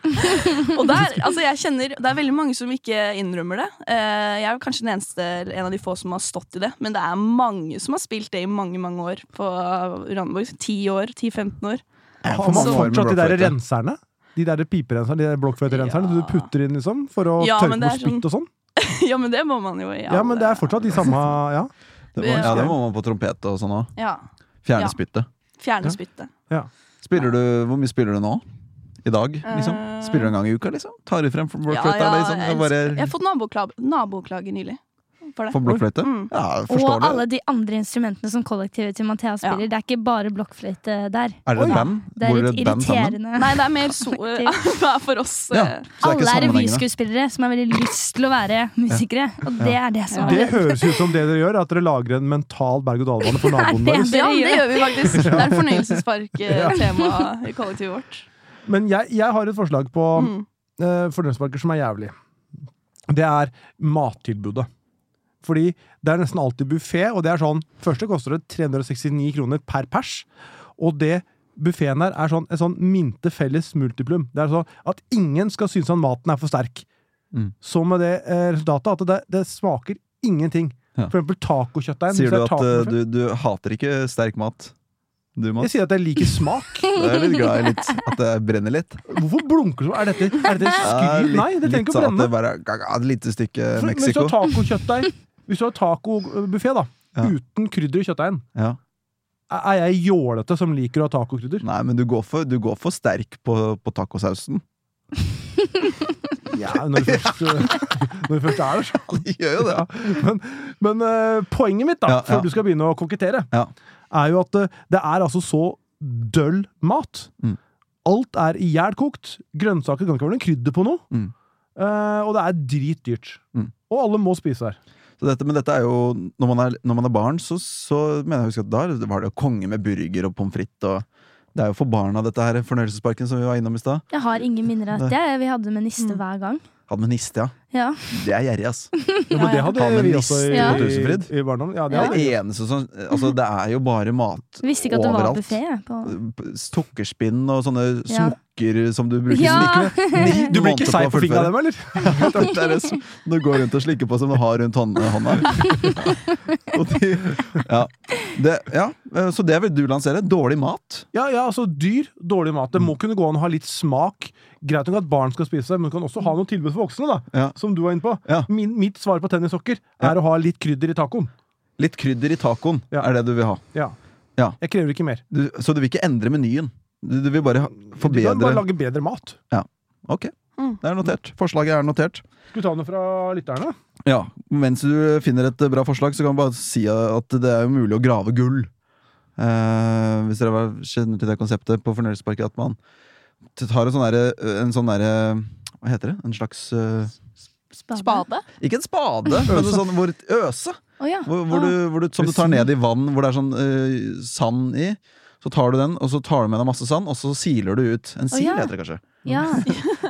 Og der, altså jeg kjenner, det er veldig mange som ikke innrømmer det. Eh, Jeg er kanskje den eneste, eller en av de få som har stått i det, men det er mange som har spilt det i mange mange år på Randeborg. 10 år, 10-15 år. Har man Så- fortsatt de der blokkfløyte. renserne? De der piperenserne, de der blokkfløyterenserne Ja. du putter inn liksom for å Ja, tørke men det bort er sånn- spytt og sånn? Ja, men det må man jo i Ja, men det er alle- fortsatt de samme Ja, Det Ja. må, ja, det må man på trompet og sånn òg. Ja. Ja. Fjerne spyttet. Fjerne spyttet. Spiller du, hvor mye spiller du nå? I dag, liksom? Spiller du en gang i uka, liksom? Tar du frem for blokkfløyta? Eh. Ja, ja, liksom? jeg, og elsker- jeg har bare fått naboklager, naboklager nylig for det. for blokkfløyte? Mm. Ja, Og forstår alle det. de andre instrumentene som kollektivet til Mathea spiller. Ja. Det er ikke bare blokkfløyte der. Er det Oi. et band? Det er Hvor litt et band sammen? irriterende. Nei, det er mer so hva er for oss. Ja, eh, så det er Alle ikke er sammenhengende. revyskuespillere som har veldig lyst til å være musikere. Og det er det som Ja. er Det høres ut som det dere gjør, at dere lager en mental berg-og-dal-bane for naboen det er deres. Ja, Dere det gjør gjør vi faktisk. Det er fornøyelsesparktema i kollektivet vårt. Men jeg, jeg har et forslag på Mm. eh, fornøyelsesparker som er jævlig. Det er mattilbudet. Fordi det er nesten alltid buffé, og det er sånn Første koster det 369 kroner per pers, og det buffeen der er sånn, en sånn minte felles multiplum. Det er sånn at ingen skal synes at maten er for sterk. Mm. Så med det eh, resultatet at det, det smaker ingenting. Ja. For eksempel tacokjøttdeig. Sier hvis du det er at eh, tacobuffé. du, du hater ikke sterk mat? Du, Mats? Jeg sier at jeg liker smak. Du er litt glad i litt, at det brenner litt? Hvorfor blunker du sånn? Er dette, er dette Ja, skryt? litt- Nei, det trenger litt ikke å sånn at brenne. det bare er gaga, Et lite stykke For- Eh, Men hvis du Mexico. har tacokjøttdeig Hvis du har tacobuffé, da, Ja. uten krydder i kjøttdeigen, Ja. er er jeg jålete som liker å ha tacokrydder? Nei, men du går for, du går for sterk på, på tacosausen. Ja, når du først, eh, når du først er der, så. De gjør jo det. Ja, men men eh, poenget mitt, da, Ja, ja. før du skal begynne å kokettere, Ja. er jo at eh, det er altså så døll mat. Mm. Alt er ihjelkokt. Grønnsaker kan ikke være noe krydder på noe. Mm. Eh, og det er dritdyrt. Mm. Og alle må spise her. Så dette, men dette er jo Når man er, når man er barn, så, så mener jeg å huske at da var det jo konge med burger og pommes frites og Det er jo for barna, dette her fornøyelsesparken som vi var innom i stad. Jeg har ingen minner av dette. jeg. Vi hadde med Mm. niste hver gang. Hadde med niste, ja. Ja. Det er gjerrig, ass. Det Jo, men Ja, ja. det hadde Ha med vi niss også i, Ja. på Tusenfryd. i barndommen. Ja, det Ja. hadde vi. eneste som Altså, det er jo bare mat Jeg visste ikke at det var buffé. Sukkerspinn og sånne Ja. smukker som du bruker Ja. som ikke- ni- Du blir ikke måneder seig å på fingra fullføre. av dem, eller? Det er det som du går rundt og slikker på som du har rundt hånd- hånda. Og de, ja. Det, ja. eh, Så det vil du lansere. Dårlig mat. Ja, ja, altså dyr, dårlig mat. Det må kunne gå an å ha litt smak. Greit nok at barn skal spise det, men du kan også ha noe tilbud for voksne, da. Ja. Som du var inne på. Ja. Min, mitt svar på tennissokker Ja. er å ha litt krydder i tacoen. Litt krydder i tacoen Ja. er det du vil ha. Ja. Ja. Jeg krever ikke mer. Du, så du vil ikke endre menyen. Du, du vil bare ha- Du kan forbedre. bare lage bedre mat. Ok, Mm. det er notert. Forslaget er notert. Skal vi ta noe fra lytterne? Ja, Mens du finner et bra forslag, så kan vi bare si at det er jo mulig å grave gull. Eh, hvis dere var- kjenner til det konseptet på Fornøyelsesparken, at man tar en sånn derre En sånn derre Hva heter det? En slags eh, Spade? Ikke en spade, men en sånn hvor, øse. Å ja. Hvor, hvor du, hvor du, som du tar ned i vann hvor det er sånn eh, sand i. Så tar du den, og så tar du med deg masse sand, og så siler du ut. En sil ja. heter det kanskje. ja.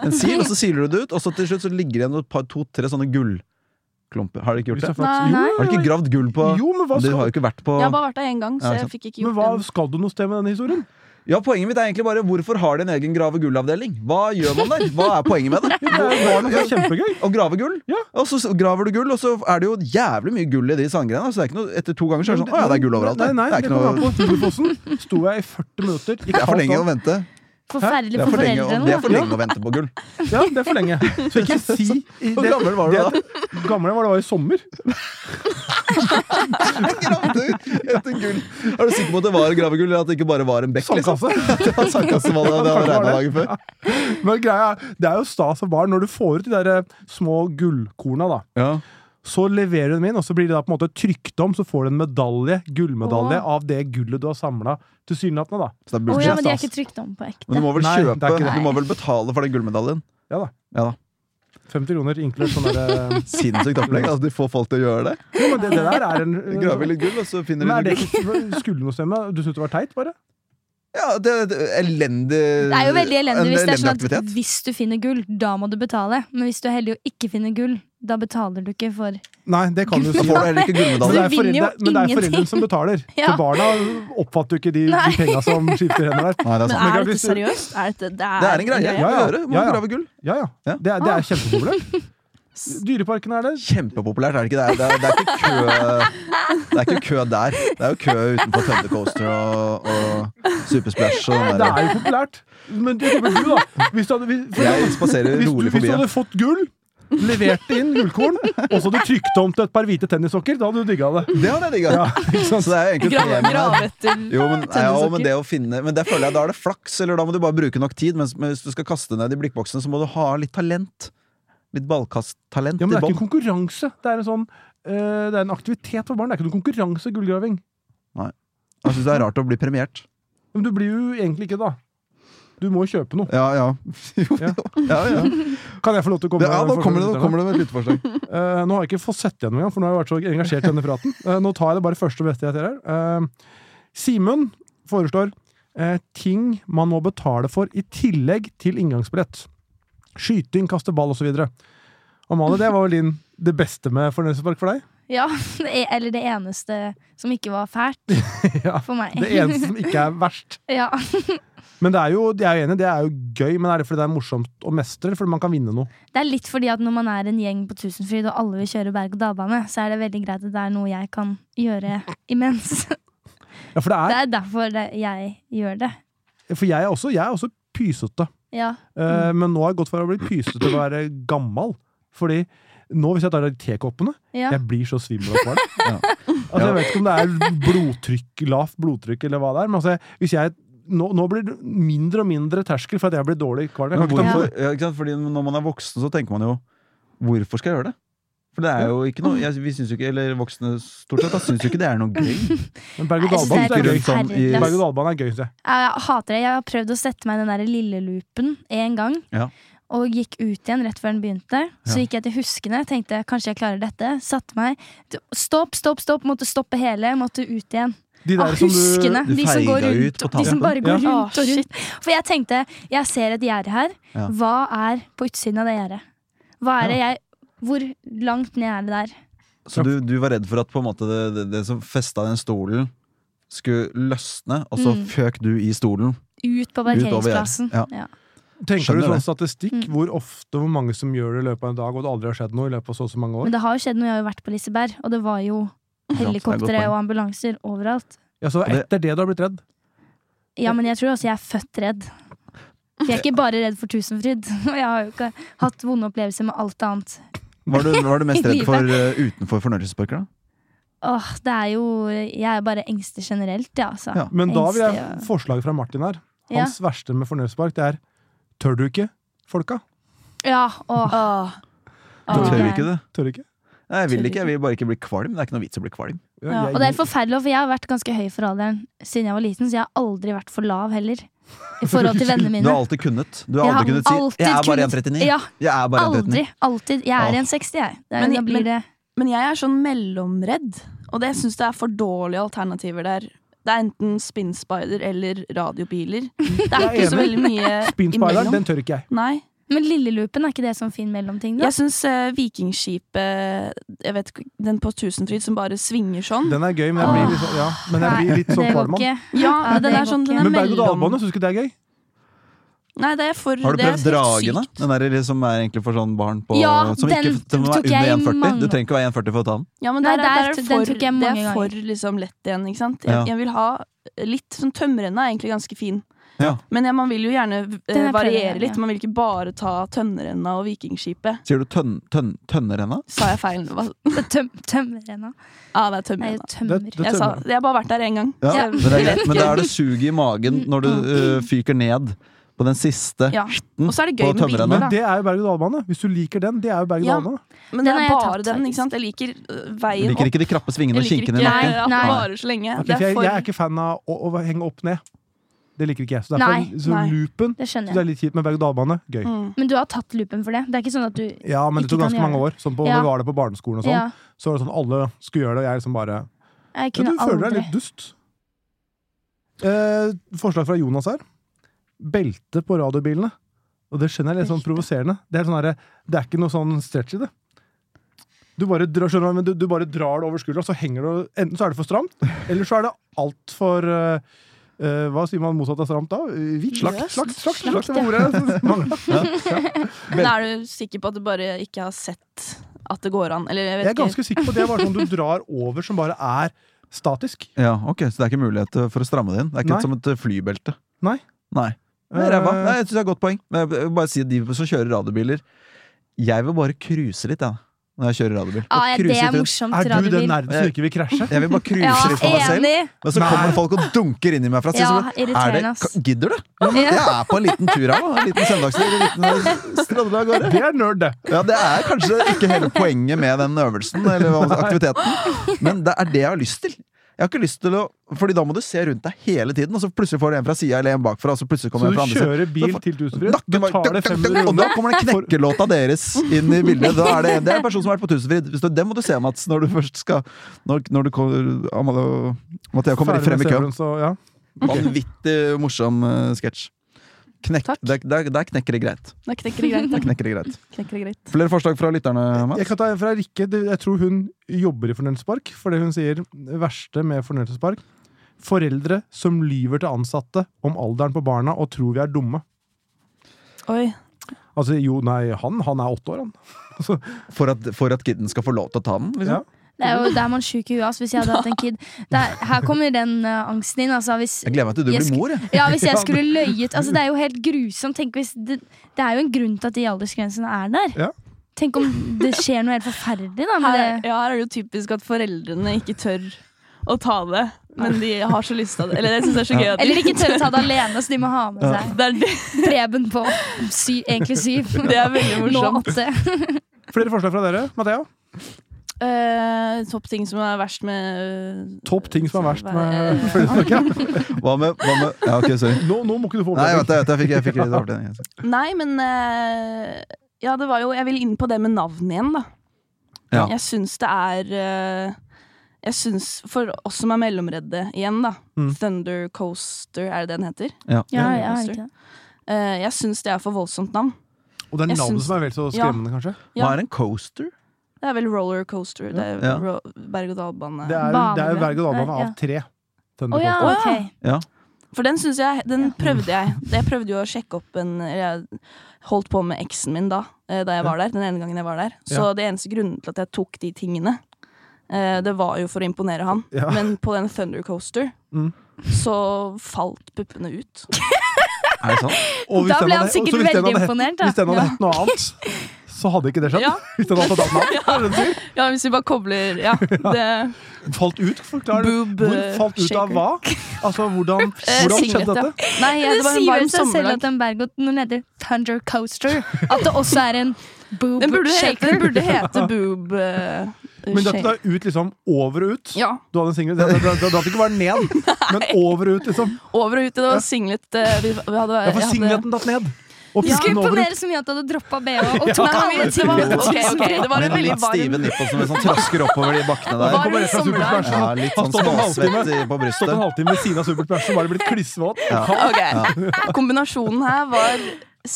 En sil, og så siler du det ut, og så til slutt så ligger det igjen et par- to-tre sånne gullklumper. Har dere ikke gjort det? Nei, Jo, nei. Har dere ikke gravd gull på jo, men hva Du har jo skal, ikke vært på Jeg har bare vært der én gang, Ja, så sant. jeg fikk ikke men hva gjort det. skal du noe sted med denne historien? Ja, Poenget mitt er egentlig bare hvorfor har de en egen grave gull-avdeling? Hva gjør man der? Hva er poenget med Det det? var noe kjempegøy. Å grave gull? Ja. Og så graver du gull, og så er det jo jævlig mye gull i de sandgrenene. Så det er ikke noe, etter to ganger så er det sånn Å ja, det er gull overalt. Nei, der. nei, det er det ikke kommer an noe på. Storfossen sto jeg i 40 minutter. gikk Det er for halvt lenge å år. vente. Forferdelig Det er for for lenge, å- det foreldrene. er for lenge å vente på gull. Ja, det er for lenge. Så ikke si i Hvor det, gammel var du da? Gamle var det var i sommer. Gravde ut etter gull. Er du sikker på at det var gravegull, eller at det ikke bare var en bekk? liksom? Sandkasse. Det var sandkasse hva det, det hadde regnet dagen før. Men greia er, det er jo stas for barn når du får ut de der eh, små gullkorna, da. Ja. Så leverer du dem inn, og så blir de da på en måte trykt om, så får du en medalje, gullmedalje, Åh. av det gullet du har samla, tilsynelatende, da. Så det er Å bullshit, ja, men de er ass. ikke trykt om på ekte. Men du må vel Nei, det er kjøpe, ikke det. du må vel betale for den gullmedaljen? Ja da. Ja da. 50 kroner inkludert sånn der eh, Sinnssykt opplegg. Altså, de får folk til å gjøre det. jo, men det, det der er en eh, Grave litt gull, og så finner Men de er det noe gull. ikke skulle du noe stemme? Du syntes det var teit, bare? Ja, det er et elendig Det er jo veldig en elendig hvis det er sånn at aktivitet. hvis du finner gull, da må du betale. Men hvis du er heldig og ikke finner gull, da betaler du ikke for Nei, det kan du Da si. får du heller ikke Så Men det gullmedalje. er, du vinner foreldre, jo men det er ingenting. foreldrene som betaler. Ja. For barna oppfatter jo ikke de, de penga som skifter hender der. Nei, det er Men sant. Men er jeg dette visste- seriøst? Er dette, det, er, Det er en greie. Ja, Ja, ja. ja. Må Ja, ja. grave gull. Ja, ja. Ja. Det er, det er kjempepopulært. Dyreparken er der. Kjempepopulært, er det ikke det? Det er, det er ikke kø Det er ikke kø der. Det er jo kø utenfor Thunder Coaster og, og Supersplash og den Det der. er jo populært. Men det kommer du, da. Hvis du hadde, hvis, Jeg spaserer hvis, du, rolig hvis forbi. du ja. hadde fått gull, levert det inn gullkorn, og så hadde du trykt om til et par hvite tennissokker, da hadde du digga det. Det hadde jeg digga. Ja, ikke sant? Så det er jo egentlig Grave, premien grave her. etter Jo, men, ja, tennissokker. men det å finne Men det føler jeg da er det flaks, eller da må du bare bruke nok tid. Mens men hvis du skal kaste ned i blikkboksene, så må du ha litt talent. Litt ballkasttalent Ja, men i det er ikke en bånn. konkurranse. Det er en, sånn, eh, det er en aktivitet for barn. Det er ikke noen konkurranse, gullgraving. Jeg syns det er rart å bli premiert. Men du blir jo egentlig ikke det, da. Du må jo kjøpe noe. Ja, ja. Jo, Ja. jo. ja, ja. Kan jeg få lov til å komme Det, ja nå med- kommer det, nå kommer det med et lytteforslag. Eh, nå har jeg ikke fått sett igjennom engang, for nå har jeg vært så engasjert i denne praten. Eh, nå tar jeg det bare første og beste jeg ser her. Eh, Simen foreslår eh, ting man må betale for i tillegg til inngangsbillett. Skyting, kaste ball osv. Amalie, det var vel din det beste med fornøyelsespark for deg? Ja, det er- eller det eneste som ikke var fælt Ja, for meg. Det eneste som ikke er verst. ja. Men det er jo, jeg er jo enig, det er jo gøy, men er det fordi det er morsomt å mestre, eller fordi man kan vinne noe? Det er litt fordi at når man er en gjeng på Tusenfryd og alle vil kjøre berg-og-dal-bane, så er det veldig greit at det er noe jeg kan gjøre imens. Ja, for det Det er, er derfor det jeg gjør det. for jeg er også, jeg er også pysete. Ja. Eh, Men nå har jeg gått fra å bli pysete til å være gammel. Fordi nå, hvis jeg tar de tekoppene ja. Jeg blir så svimmel og kvalm. Ja. Altså, jeg vet ikke om det er blodtrykk, lavt blodtrykk, eller hva det er. Men altså, jeg- hvis jeg nå, nå blir det mindre og mindre terskel for at jeg blir dårlig kvalm. Jeg Men kan ikke ta hvorfor, ja, ikke sant? Fordi når man er voksen, så tenker man jo Hvorfor skal jeg gjøre det? For det er jo ikke noe jeg, Vi syns jo ikke, eller voksne stort sett, da syns jo ikke det er noe gøy. Men berg- og Nei, jeg dalbanen synes er det er gøy. et Sånn i- forferdelig Berg- og glass. dalbanen er gøy, syns jeg. Jeg, jeg hater det. Jeg har prøvd å sette meg i den der lille loopen én gang. Ja. Og gikk ut igjen rett før den begynte. Så gikk jeg til huskene, tenkte kanskje jeg klarer dette. Satte meg. Stopp, stopp, stopp. Måtte stoppe hele. Måtte ut igjen. De Ah, der som du huskene! du de som feiga går rundt, ut på de tampen. som bare går Ja. rundt og rundt. For jeg tenkte, jeg ser et gjerde her. Ja. Hva er på utsiden av det gjerdet? Hva er det jeg Hvor langt ned er det der? Så du, du var redd for at på en måte det, det, det som festa den stolen, skulle løsne, og så Mm. føk du i stolen. Ut på gjerdet. parkeringsplassen. Ja. Ja. Tenker Skjønner du sånn det. statistikk? Mm. Hvor ofte, hvor mange som gjør det i løpet av en dag, og det aldri har skjedd noe i løpet av så og så mange år? Men det har jo skjedd noe. Jeg har jo vært på Liseberg, og det var jo det er et godt helikoptre poeng. og ambulanser overalt. Ja, så det- etter det du har blitt redd? Ja, men jeg tror også jeg er født redd. For jeg er ikke bare redd for Tusenfryd. Og jeg har jo ikke hatt vonde opplevelser med alt annet. Var du, var du mest I redd for eh, utenfor fornøyelsesparker, da? Åh, det er jo Jeg er bare engstelig generelt, ja, altså. Ja. Men da vil jeg Engstelig, ja. forslaget fra Martin her. Ja. Hans verste med fornøyelsespark, det er Tør du ikke, folka? Ja, åh. Åh. Du Åh. tør ikke det? Tør du ikke? Nei, jeg vil Tør ikke, jeg vil bare ikke bli kvalm. Det er ikke noe vits å bli kvalm. Ja, Og det er forferdelig, for jeg har vært ganske høy for alderen siden jeg var liten, så jeg har aldri vært for lav heller. I forhold til vennene Du mine. har alltid kunnet. Du har Jeg aldri kunnet si 'jeg er bare 1,39'. Ja, Jeg er bare 1,39. aldri. Alltid. Jeg Åh. er 1,60, jeg. Det er, Men- da men- blir det Men jeg er sånn mellomredd, og det syns jeg er for dårlige alternativer der. Det er enten spinnspider eller radiobiler. Det er Jeg er ikke så veldig mye Spinspideren, imellom. den tør ikke jeg. Nei. Men Lilleloopen, er ikke det sånn fin mellomting, da? Jeg syns Vikingskipet jeg vet, ikke, Den på Tusenfryd som bare svinger sånn. Den er gøy, men jeg Åh. blir litt, sånn- ja, men jeg blir litt det sånn går kvalm av den. ikke. Ja, Ja, den det er går sånn ikke. den er Men berg- og dalbane, mellom syns du ikke det er gøy? Nei, det er for Har du det er prøvd helt dragene? sykt. Den der som er egentlig for sånn barn på Ja, Som den ikke som er tok jeg i under 1,40. Du mange- trenger ikke være 1,40 for å ta den. Ja, men Nei, der, er- der der er t- for, den tok jeg mange det er for liksom lett igjen, ikke sant? Jeg, Ja. jeg vil ha litt sånn Tømmerrenna er egentlig ganske fin. Ja. Men ja, man vil jo gjerne eh, Den er variere prøvd, litt. ja. Man vil ikke bare ta Tømmerrenna og Vikingskipet. Sier du tønn, tønn, tønnerrenna? Sa jeg feil? Hva? Tøm, tømmerrenna. Ja, det er Det er jo Tømmerrenna. tømmer. Det- det- Jeg, sa, jeg har bare vært der én gang. Ja, Ja. Mm, Men, det er greit. men da er det suget i magen når du øh, fyker ned på den siste Ja. skitten. Og så er det På gøy tømmerrenna. med biler, Men da. det er jo berg- og dalbane. Hvis du liker den, det er jo berg- og Ja. dalbane. Men Den det er har jeg bare tatt, den, ikke faktisk. sant? Jeg liker øh, Jeg veien liker opp. ikke de krappe svingene og Jeg liker kinkene i ikke at nakken. det Nei. varer så lenge. Ok, Det for er jeg, jeg er for ikke fan av å, å henge opp ned. Det liker ikke jeg. Så derfor Nei, så nei. loopen Det så skjønner det jeg. er litt kjipt med berg-og-dal-bane. Gøy. mm. Men du har tatt loopen for det? Det er ikke sånn at du Ja, men det tok Ikke ganske kan gjøre mange år. Sånn på, Ja. Når vi var der på barneskolen og sånn, Ja. så var det sånn alle skulle gjøre det, og jeg liksom bare Jeg ja, Du kunne føler deg aldri litt dust. Eh, forslag fra Jonas her. Belte på radiobilene. Og det skjønner jeg er litt sånn Belte. provoserende. Det er, sånn herre- det er ikke noe sånn stretch i det. Du bare, drar, skjønner, du, men du, du bare drar det over skuldra, så henger det Enten så er det for stramt, eller så er det altfor uh, Hva sier man motsatt av stramt da? Eh, Vidt? Slakt. Slakt, slakt, Slakt, slakt, det var ordet jeg manglet. Men er du sikker på at du bare ikke har sett at det går an? Eller jeg Jeg vet er ikke. ganske sikker på at det var sånn du drar over, som bare er statisk. Ja, ok, Så det er ikke mulighet øh, for å stramme det inn? Det er ikke Nei. som et øh, flybelte? Nei. Nei. Nei, ræva. Eh, Nei, jeg synes det er et godt poeng. Men jeg vil bare si at de som kjører radiobiler Jeg vil bare cruise litt, jeg, når jeg kjører radiobil. Ah, Ja, Bare ja, det cruise litt er rundt. morsomt. Er du den radiobil. nerden som ikke vil krasje? Jeg vil bare cruise Ja, litt for meg selv. enig! Men så Nei. kommer det folk og dunker inni meg fra siden. Ja, så bare, irriterende, er det- ass. ka- Gidder du? Jeg Ja. er på en liten tur her nå. En liten søndagstur. En liten stradle av gårde. Det er nerd, det. Ja, det er kanskje ikke hele poenget med den øvelsen eller hva- aktiviteten, men det er det jeg har lyst til. Jeg har ikke lyst til å, fordi Da må du se rundt deg hele tiden, og så plutselig får du en fra sida eller en bakfra. Og så plutselig Så kommer en du fra andre siden. kjører bil Så til Tusenfryd, Nakken bare- betaler 500 Og da kroner kommer den knekkelåta deres inn i bildet. Da er det, det er en person som har vært på Tusenfryd. Hvis du, det må du se, Mats, når du først skal Når, når du kommer, Amalie og Mathea kommer Ferdig frem i med køen. serien, så, ja. Vanvittig morsom uh, sketsj. Knekk, Takk. der, der, der knekker det greit. Da knekker det greit. Der Da. knekker det greit. Knekker det greit. Flere forslag fra lytterne, Jeg Mats? kan ta en fra Rikke. Det- Jeg tror hun jobber i fornøyelsespark. For det hun sier det verste med fornøyelsespark Foreldre som lyver til ansatte om alderen på barna og tror vi er dumme. Oi. Altså, jo, nei, han, han er åtte år, han. For at, for at kidden skal få lov til å ta den? Liksom. Ja. Det er jo der man sjuk i huet ass, hvis jeg hadde hatt en kid. Det er, her kommer den eh, angsten inn. Altså, hvis, Jeg gleder meg til du Jeg blir sk- mor. Jeg. ja, hvis jeg skulle løyet altså, Det er jo helt grusomt. Tenk hvis det, det er jo en grunn til at de aldersgrensene er der. Ja. Tenk om det skjer noe helt forferdelig da, med Her, det. er- ja, her er det jo typisk at foreldrene ikke tør å ta det, men de har så lyst til det. Eller jeg synes det er så gøy at Eller ikke tørre å ta det alene, så de må ha med seg det er, det, Preben på sy, egentlig syv. det er veldig Nå morsomt. åtte. Flere forslag fra dere, Mathea? Eh, topp ting som er verst med Topp ting som er verst med Eh, følelsesmøkket? Hva med, hva med Ja, ok, sorry. Nå, nå må ikke du få Nei, jeg vet opplæring. det, jeg vet det. Jeg fikk, jeg fikk litt dårlig mening. Nei, men eh, Ja, det var jo Jeg vil inn på det med navn igjen, da. Ja. Jeg syns det er eh, Jeg syns For oss som er mellomredde igjen, da. Mm. Thunder Coaster, er det det den heter? Ja, ja, ikke det. Eh, jeg syns det er for voldsomt navn. Og det er Jeg navnet syns- som er vel så Ja. skremmende, kanskje? Ja. Hva er en coaster? Det er vel rollercoaster. Det er Ja. ro berg-og-dal-bane. Det er, det er jo berg-og-dal-bane av tre. Å ja, Thunderbolts. ok. For den syns jeg Den prøvde jeg. Jeg prøvde jo å sjekke opp en eller Jeg holdt på med eksen min da, eh, da jeg var der. Den ene gangen jeg var der. Så det eneste grunnen til at jeg tok de tingene, eh, det var jo for å imponere han. Ja. Men på den Thundercoaster Mm. så falt puppene ut. Er det sant? Og hvis Da den ble hadde- han sikkert så hvis den veldig hadde hett- imponert. Da. Hvis den hadde hett noe annet, så hadde ikke det skjedd. Ja. Hvis den hadde tatt navn. Er det det du sier? Ja, hvis vi bare kobler Ja. Det, Falt ut? Forklar. Boob, Hvor eh, falt ut av shaker. hva? Altså, hvordan, Eh, hvordan singlet, skjedde ja. dette? Nei, Det, det sier var en vel varm seg selv sommerdag. at den berg-og-dalen heter Thunder Coaster. At det også er en boob Den burde hete, shaker. den burde hete Boob eh, Men dette Shake. er ut liksom over og ut. Ja. Du hadde en singlet. Det det- det- det hadde ikke vært ned, men over og ut, liksom. Over og ut. Det var singlet eh, vi, vi hadde, Ja, for jeg hadde- singleten datt ned. Og Du skulle pusten over ut. imponere så mye at du hadde droppa BH og Nei, tok alle det var, ok, ok, det var en Med veldig litt stive varm nipple som liksom trasker oppover de bakkene Var der. det Kommer rett fra sommerdag? Supersplash. Ja, litt sånn Har stått en halvtime- småsvett i- på Stått en brystet. halvtime ved siden av Supersplash og bare blitt klissvåt. Ja. Ok. Kombinasjonen her var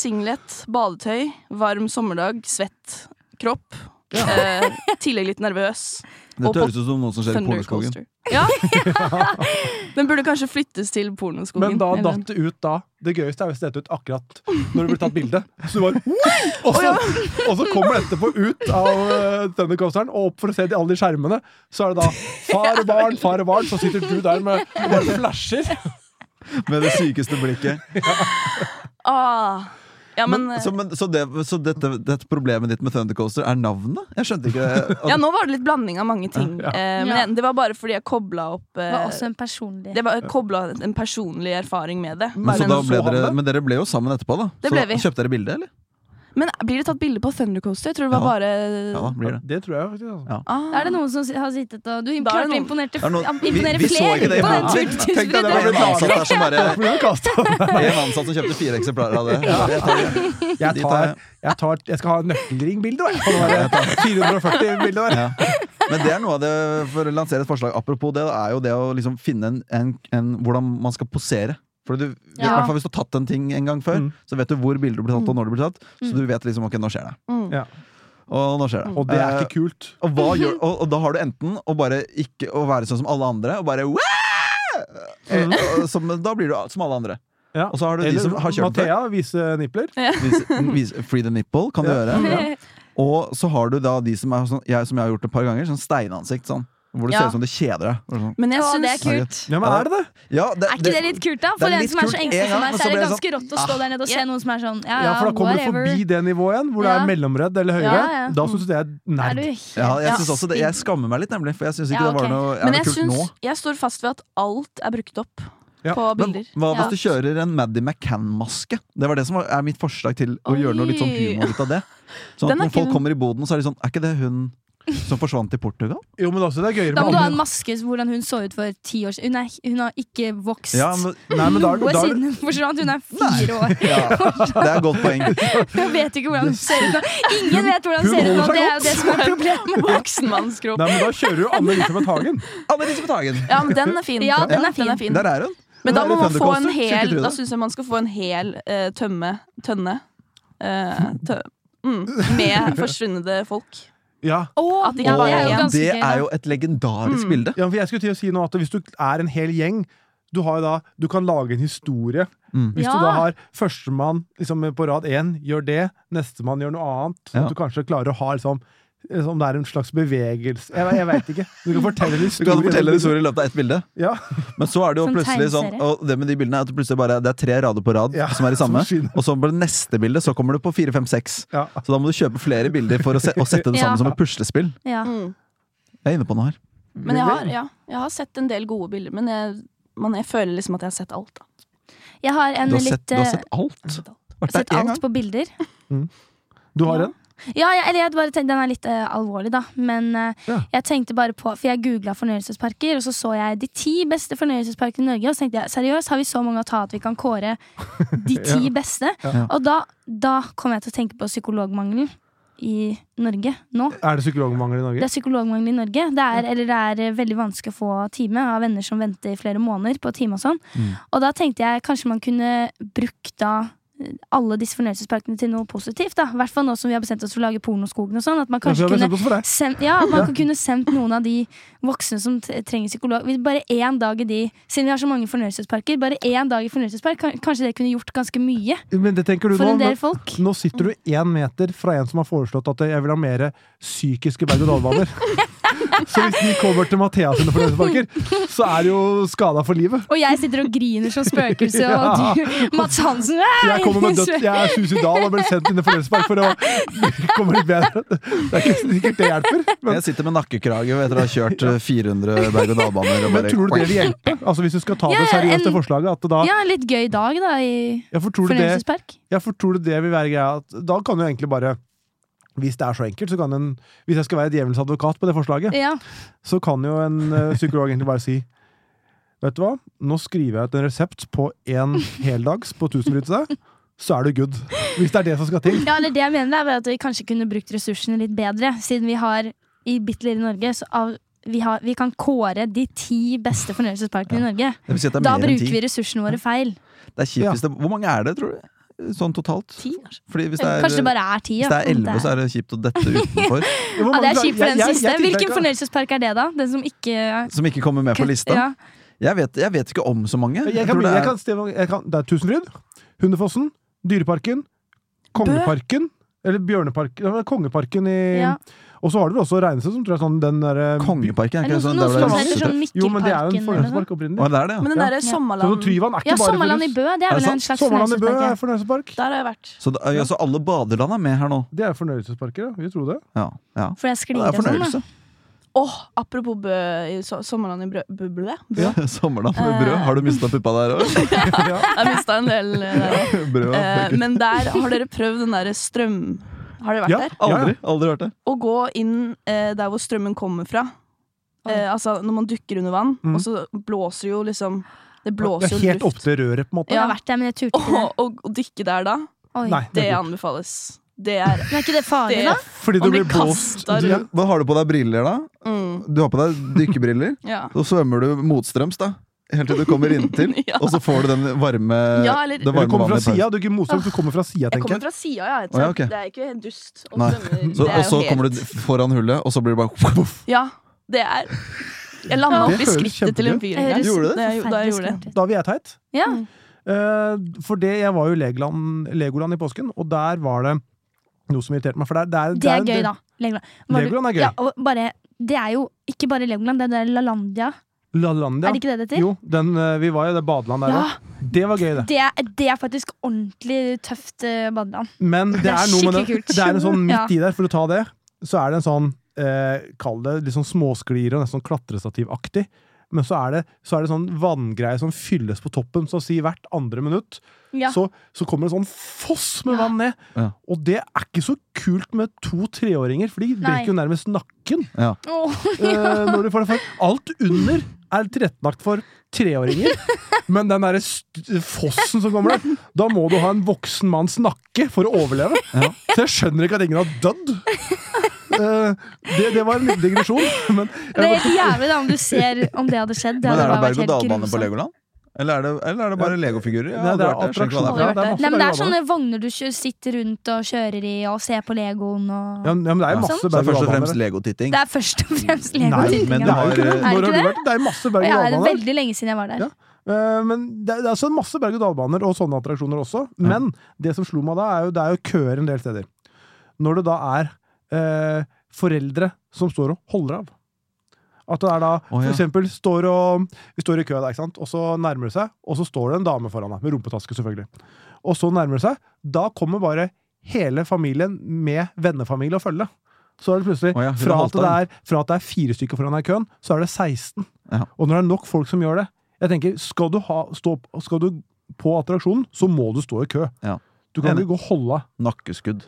singlet, badetøy, varm sommerdag, svett kropp. Eh, tillegg litt nervøs. Dette høres ut som noe som skjer i Thunder Poleskogen. Coaster. Ja. Den burde kanskje flyttes til pornoskogen. Men da eller- datt det ut da. Det gøyeste er hvis det detter ut akkurat når du blir tatt bilde. Så du bare «Oi!» og så, og så kommer det etterpå ut av eh, denne coasteren og opp for å se de alle de skjermene. Så er det da far og barn, far og barn, så sitter du der med og bare flasher. Med det sykeste blikket. ah. Ja, men, Men, så men, så, det, så dette, dette problemet ditt med Thunder Coaster er navnet? Jeg skjønte ikke det. ja, nå var det litt blanding av mange ting. Ja. Eh, men Ja. jeg- det var bare fordi jeg kobla opp Det var eh, også en personlig Det var kobla en personlig erfaring med det. men, så Men da så ble han dere, det? men dere ble jo sammen etterpå, da. Det så ble da- vi. Kjøpte dere bilde, eller? Men blir det tatt bilde på Thundercoaster? Jeg tror det var Ja. bare Ja da, blir det. Det tror jeg faktisk. Altså. Ja. Ah. Da er det noen som si- har sittet og Du Da er klarte det å noen- imponere er noen- vi- imponere vi så flere ikke det i på den morgen. tusen- tusen Tenk deg, det var brudene. en ansatt der som bare Derfor ble jeg kastet. En ansatt som kjøpte fire eksemplarer av det. Jeg tar det. Jeg, tar, jeg, tar, jeg skal ha nøkkelringbilde, da. På det der 440-bildet der. Ja. Men det er noe av det For å lansere et forslag apropos det, da, er jo det å liksom finne en, en, en hvordan man skal posere. For du, i Ja. hvert fall Hvis du har tatt en ting en gang før, Mm. så vet du hvor bildet blir tatt og når det blir tatt. Så du vet liksom ok, nå skjer det. Mm. Ja. Og nå skjer det. Og det er Eh, ikke kult. og, hva gjør, og, og da har du enten å bare ikke å være sånn som alle andre, og bare «Wah!» Eh, og- som, Da blir du som alle andre. Ja. Og så har du de som har kjørt det. Mathea vise nipler. Vis, vis, free the nipple kan du Ja. gjøre. Og så har du da de som er sånn, jeg, som jeg har gjort et par ganger, sånn steinansikt. sånn Hvor det Ja. ser ut som det kjeder deg. Og Sånn. Men jeg Å, syns det er kult. Ja, men er det det? Ja, Er ikke det litt kult, da? det For er en litt som er så kult engstelig en som gang, meg, og så så er det blir det sånn- Ah. ganske rått å stå der nede og se noen som er sånn Ja, Ja, ja, for da kommer whatever. du forbi det nivået igjen, hvor det Ja. er mellomredd eller høyere. Ja, ja. Da syns du det er Er nerd. du ja, jeg, Ja. synes også det, jeg skammer meg litt, nemlig. For jeg syns ikke Ja, det ok. var noe er Men det jeg, kult nå. syns, jeg står fast ved at alt er brukt opp Ja. på Men bilder. hva Ja. hvis du kjører en Maddy McCann-maske? Det var det som var, er mitt forslag til å gjøre noe litt sånn Oi. humor ut av det. Sånn Den at er når folk kul. kommer i boden, så er de sånn Er ikke det hun som forsvant til Portugal? Jo, men også det er gøyere Da må med du ha en andre- maske som hvordan hun så ut for ti år siden. Hun, er- hun har ikke vokst Ja, men, Nei, men da, er- noe da, er siden det- hun forsvant. Hun er fire år. ja, det er et godt poeng. Jeg vet ikke hvordan hun ser ut nå. Ingen vet hvordan hun hun ser ut nå. holder seg Det er jo det som er problemet. Voksenmannskropp. Nei, men da kjører liksom jo Anne Elisabeth Hagen. Anne-Elisabeth Hagen! Ja, men den er fin. Ja, den er fin. Der er hun. Men da Der må er man få en Thundercoaster. Skulle ikke hel tro Da det. syns jeg man skal få en hel eh, tømme tønne. Eh, tø mm, med forsvunne folk. Ja. Å, At de ja, bare det er jo er- ganske Det gøy. da. er jo et legendarisk Mm. bilde. ja, for jeg skulle til å si nå at hvis du er en hel gjeng du, har jo da, du kan lage en historie. Mm. Hvis Ja. du da har førstemann liksom, på rad én gjør det, nestemann gjør noe annet. Sånn Ja. at du kanskje klarer å ha liksom, liksom, det er en slags bevegelse Jeg, jeg veit ikke. Du kan fortelle en Du historie. kan fortelle en historie i løpet av ett bilde. Ja. Men så er det jo Som plutselig sånn tegneserie. Og det med de bildene er at det plutselig bare Det er tre rader på rad Ja, som er i samme. som skinner. Og så på det neste bildet så kommer du på fire, fem, seks. Ja. Så da må du kjøpe flere bilder for å, se, å sette det sammen Ja. som et puslespill. Ja. Mm. Jeg er inne på noe her. Men jeg har, ja, jeg har sett en del gode bilder, men jeg, man, jeg føler liksom at jeg har sett alt. Da. Jeg har Du en har sett, litt du har eh, sett alt. Vært sett der én alt gang. på bilder. Du har Ja. en? Ja, jeg, eller jeg bare tenkte Den er litt eh, alvorlig, da. Men eh, Ja. jeg tenkte bare på For jeg googla fornøyelsesparker, og så så jeg de ti beste fornøyelsesparkene i Norge. Og så tenkte jeg seriøst, har vi så mange å ta at vi kan kåre de ti beste? Ja. Og da, da kom jeg til å tenke på psykologmangelen i Norge nå. Er det psykologmangel i Det Norge? er psykologmangel i Norge. Det er, eller det er eh, veldig vanskelig å få time. Jeg har venner som venter i flere måneder på time og sånn. Mm. Og da tenkte jeg kanskje man kunne brukt da eh, alle disse fornøyelsesparkene til noe positivt. da. I hvert fall nå som vi har bestemt oss for å lage Pornoskogen og sånn. At man Ja, vi kanskje har kunne bestemt oss for det. sendt, ja, at man kunne sendt noen av de voksne som t- trenger psykolog Hvis Bare én dag i de, siden vi har så mange fornøyelsesparker. Bare én dag i fornøyelsespark, kan- kanskje det kunne gjort ganske mye Men det tenker du for nå. en del men- folk. Nå sitter du én meter fra en som har foreslått at jeg vil ha mer psykiske berg-og-dal-baner. Så hvis den kommer til Mathea sine fornøyelsesparker, så er du jo skada for livet. Og jeg sitter og griner som spøkelse, og du, Mats Hansen Jeg kommer med dødt, jeg er suicidal og blir sendt inn i fornøyelsespark for å komme litt bedre. Det er ikke sikkert det hjelper, men, Jeg sitter med nakkekrage etter å ha kjørt eh, 400 berg-og-dal-baner. men tror du det vil hjelpe? Altså Hvis du skal ta det Ja, ja, seriøst, det en- forslaget, at da Ja, en litt gøy dag da i ja, for tror du det, fornøyelsespark. ja, for tror du det vil være greia? At da kan du egentlig bare hvis det er så enkelt, så kan en, hvis jeg skal være djevelens advokat på det forslaget, Ja. så kan jo en eh, psykolog egentlig bare si Vet du hva, nå skriver jeg ut en resept på en heldags på tusenbrytelse, så er du good. Hvis det er det som skal til. ja, eller det jeg mener er bare at vi kanskje kunne brukt ressursene litt bedre, siden vi har i bitte lille Norge så av, vi, har, vi kan kåre de ti beste fornøyelsesparkene i Norge. Det vil si at det er Da mer enn bruker ti. vi ressursene våre feil. Det er kjipt hvis det Hvor mange er det, tror du? Sånn totalt? Ti, kanskje. Fordi hvis det er, Kanskje det bare er ti. hvis det er elleve, så er det kjipt å dette utenfor. ja, det er kjipt for den siste. Hvilken fornøyelse? fornøyelsespark er det, da? Den som ikke Som ikke kommer med på lista. Ja. Jeg, vet, jeg vet ikke om så mange. Jeg tror kan, det jeg er- kan, stemme- jeg kan, det er Tusenfryd, Hundefossen, Dyreparken, Kongeparken Eller Bjørneparken ja, Kongeparken i Ja. Og så har du vel også Reineset, som tror jeg er sånn den derre Kongeparken er Er det ikke noen, sånn noen der hvor som det er heter sånn Jo, men det er jo en Mikkelparken eller noe? fornøyelsespark opprinnelig. Å, det er det, ja. Men den Ja. derre Så Sommerland Tryvann er ikke Ja, bare Sommerland i Bø, det Er er det vel en sant? slags Sommerland i Bø er fornøyelsespark? fornøyelsespark. Der har jeg vært. Så det, ja, så alle badeland er med her nå? Det er fornøyelsesparker, ja. Vi tror det. Ja. ja. For jeg Det er sklir og sånn, da. fornøyelse. Åh, apropos Bø i so Sommerland i Brø Bø. Bø. Sommerland med brød. Har du mista puppa der òg? Ja. Jeg mista en del eh, der. Brød. Eh, men der har dere prøvd den derre strøm... Har dere vært Ja. der? Aldri aldri hørt det. Å gå inn eh, der hvor strømmen kommer fra. Eh, altså når man dukker under vann, Mm. og så blåser jo liksom Det Det blåser er jo helt opp luft. til røret, på en måte. Jeg har Ja. vært der, men jeg turte Og ikke det. å dykke der da, Oi. Nei, det det er anbefales. Det er Men er ikke det farlig, det, da? Fordi du Man blir blir blåst kastet du- Ja, men har du på deg briller, da? mm, Du har på deg dykkebriller. ja. Så svømmer du motstrøms, da. Helt til du kommer inntil, Ja. og så får du den varme Ja, eller- det Du varme kommer fra vannet i pausen. sida, du er ikke motstrøm, du kommer fra sida, Jeg tenker kommer jeg. fra sida, ja. Jeg Å, ja, ok. Det er ikke dust. Og Nei. strømmer. Så, det er og jo så helt- kommer du foran hullet, og så blir det bare poff. Ja, det er Jeg landa Det opp i føles skrittet til en kjempegøy. fyr. Det høres Gjorde du det? Da jeg, da jeg gjorde det. forferdelig Da blir jeg teit. skummelt ut. Ja. Eh, for det, jeg var jo i Legoland, Legoland i påsken, og der var det noe som irriterte meg. For der, der, Det er der- gøy, da. Legoland. Var du- Legoland er gøy. Ja, og bare, det er jo ikke bare Legoland, det er der LaLandia. Lalandia. Er det ikke det det heter? Jo, den, eh, vi var jo i det badeland der Ja. òg. Det var gøy, det. Det er, det er faktisk ordentlig tøft eh, badeland. Men det Det er er noe med det. skikkelig kult. Det er en sånn midt Ja. i der, for å ta det, så er det en sånn eh, Kall det litt sånn småsklir og nesten sånn klatrestativaktig. Men så er, det, så er det sånn vanngreie som fylles på toppen, så å si hvert andre minutt. Ja. Så, så kommer det en sånn foss med Ja. vann ned. Ja. Og det er ikke så kult med to treåringer, for de Nei. brekker jo nærmest nakken. Åh, Eh, når du får det for. Alt under er tilrettelagt for treåringer, men den derre st- fossen som kommer der, da må du ha en voksen manns nakke for å overleve. Ja. Så jeg skjønner ikke at ingen har dødd. Eh, det, det var en liten digresjon, men det er helt jævlig da, om du ser om det hadde skjedd. Det Men hadde er det bare vært helt berg-og-dal-bane på grusomt. Legoland? Eller er det, eller er det bare legofigurer? Jeg Nei, har det aldri vært der, er jeg skjønner ikke hva det er for noe. attraksjoner. Ja, attraksjon. det er masse Nei, men det er sånn- berg-og-daler. sånne vogner du kjø- sitter rundt og kjører i og ser på Legoen og Ja, men- ja, men det er jo Sånn. masse Så det er først og fremst berg-og-dal-baner. legotitting. Det er først og fremst Nei, Lego-typinga. men det er jo ikke Er det det. Når har ikke du det? vært? Det er masse Ja, det er berg-og-dal-baner. veldig lenge siden jeg var der. Ja. Eh, Men det, er- det er altså masse berg-og-dal-baner og sånne attraksjoner også. Men det som slo meg da, er jo det er jo køer en del steder. Når det da er eh, foreldre som står og holder av. At det er da Å, ja. for eksempel står og, Vi står i kø der, ikke sant? og så nærmer det seg, og så står det en dame foran deg, med rumpetaske selvfølgelig. Og så nærmer det seg. Da kommer bare hele familien med vennefamilie og følge. så er det plutselig Å ja, hun har fra, at valgt det er, fra at det er fire stykker foran deg i køen, så er det 16. Ja. Og når det er nok folk som gjør det Jeg tenker, Skal du, ha, stå, skal du på attraksjonen, så må du stå i kø. Ja. Du kan Enig. ikke gå og holde av. Nakkeskudd.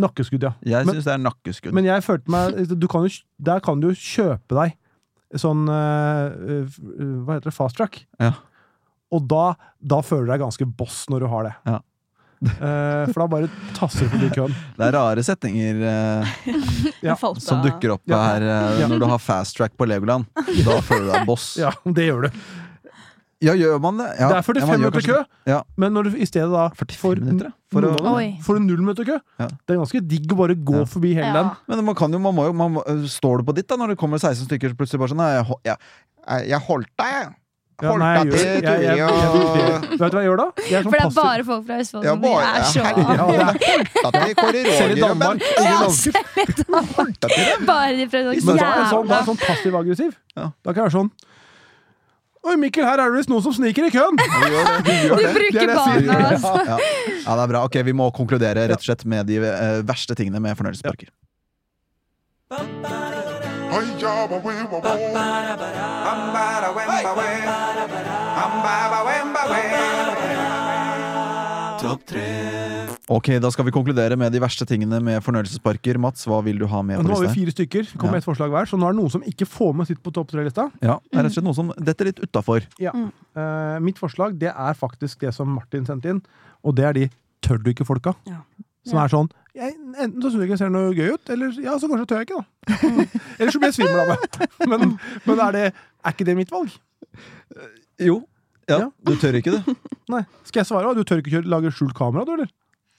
Nakkeskudd, ja. Jeg Men- syns det er nakkeskudd. Men jeg følte meg du kan jo, Der kan du jo kjøpe deg sånn eh, f- eh, Hva heter det? Fast track. Ja. Og da, da føler du deg ganske boss når du har det. Ja. Eh, for da bare tasser du forbi køen. Det er rare setninger eh, Ja, Jeg falt som av. dukker opp Ja. her eh, Ja. når du har fast track på Legoland. Da føler du deg boss. Ja, det gjør du. Ja, gjør man det? Ja, det er ja, man 45 gjør minutter kø, kanskje det. Ja. men når du i stedet da 45 får, minutter, ja, for å- null- Oi. får du null minutter kø Ja. Det er ganske digg å bare gå Ja. forbi hele Ja. den. Men man kan jo, man må jo man må, eh, Står du på ditt da når det kommer 16 stykker, så plutselig bare sånn Nei, jeg, hol- jeg, jeg- jeg holdt deg, jeg. Ja, Holdt nei, jeg deg gjør- til jeg- jeg- Turi og Vet du hva jeg gjør da? Jeg er sånn For det er passiv- bare folk fra Østfold Ja, som blir bare- er så Ja, det er, Holdt deg til Kåre selv i Roger og Danmark. Bent. ingen Ja, land- selv i Danmark. Holdt deg til det. Bare de fra Men da er jeg sånn, da er Jævla jeg sånn passiv-aggressiv. Ja. Da kan jeg være sånn Oi, Mikkel, her er det visst noen som sniker i køen! Vi gjør det, vi gjør Du det. Det er bruker det jeg sier. barna hans. Ja. ja, det er bra. Ok, Vi må konkludere rett og slett med de eh, verste tingene med fornøyelsesparker. Ok, Da skal vi konkludere med de verste tingene med fornøyelsesparker. Mats, hva vil du ha med Og på Nå har vi lista? fire stykker, kom Ja. med ett forslag hver, så nå er det noen som ikke får med sitt på topp tre-lista. Ja, det er rett og slett noe som detter litt utafor. Eh, mitt forslag det er faktisk det som Martin sendte inn, og det er de tør du ikke-folka. Ja. Som Ja. er sånn jeg, Enten så syns jeg ikke jeg ser noe gøy ut, eller ja, så kanskje tør jeg ikke, da. eller så blir jeg svimmel av meg. Men, men er, det, er ikke det mitt valg? Jo. Ja. Ja, Du tør ikke det. Nei. Skal jeg svare? «Å, Du tør ikke kjøre, lage skjult kamera, du, eller?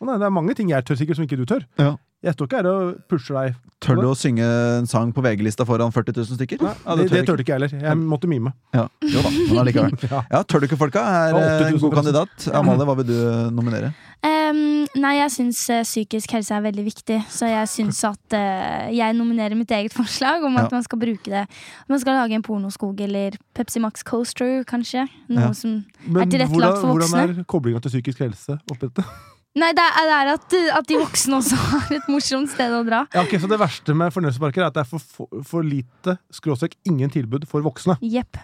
Å, nei, det er mange ting jeg tør sikkert som ikke du tør. Ja. Jeg står ikke her og pusher deg. Tør du å synge en sang på VG-lista foran 40 000 stykker? Nei, det, det tør du ikke jeg heller. Jeg måtte mime. Ja. Jo da, men allikevel. Ja. Ja, tør du ikke, folka? Er Ja, eh, en 8000 god kandidat. Amalie, hva vil du nominere? Ehm, nei, jeg syns psykisk helse er veldig viktig, så jeg syns at eh, jeg nominerer mitt eget forslag om at Ja. man skal bruke det. Man skal lage en pornoskog eller Pepsi Max Coaster, kanskje. Noe Ja. som Men tilrettelagt hvordan, for hvordan voksne? er koblinga til psykisk helse oppi dette? Nei, det er, det er at, at de voksne også har et morsomt sted å dra. Ja, ok, så Det verste med fornøyelsesparker er at det er for, for, for lite skråstrek ingen tilbud for voksne. Jepp.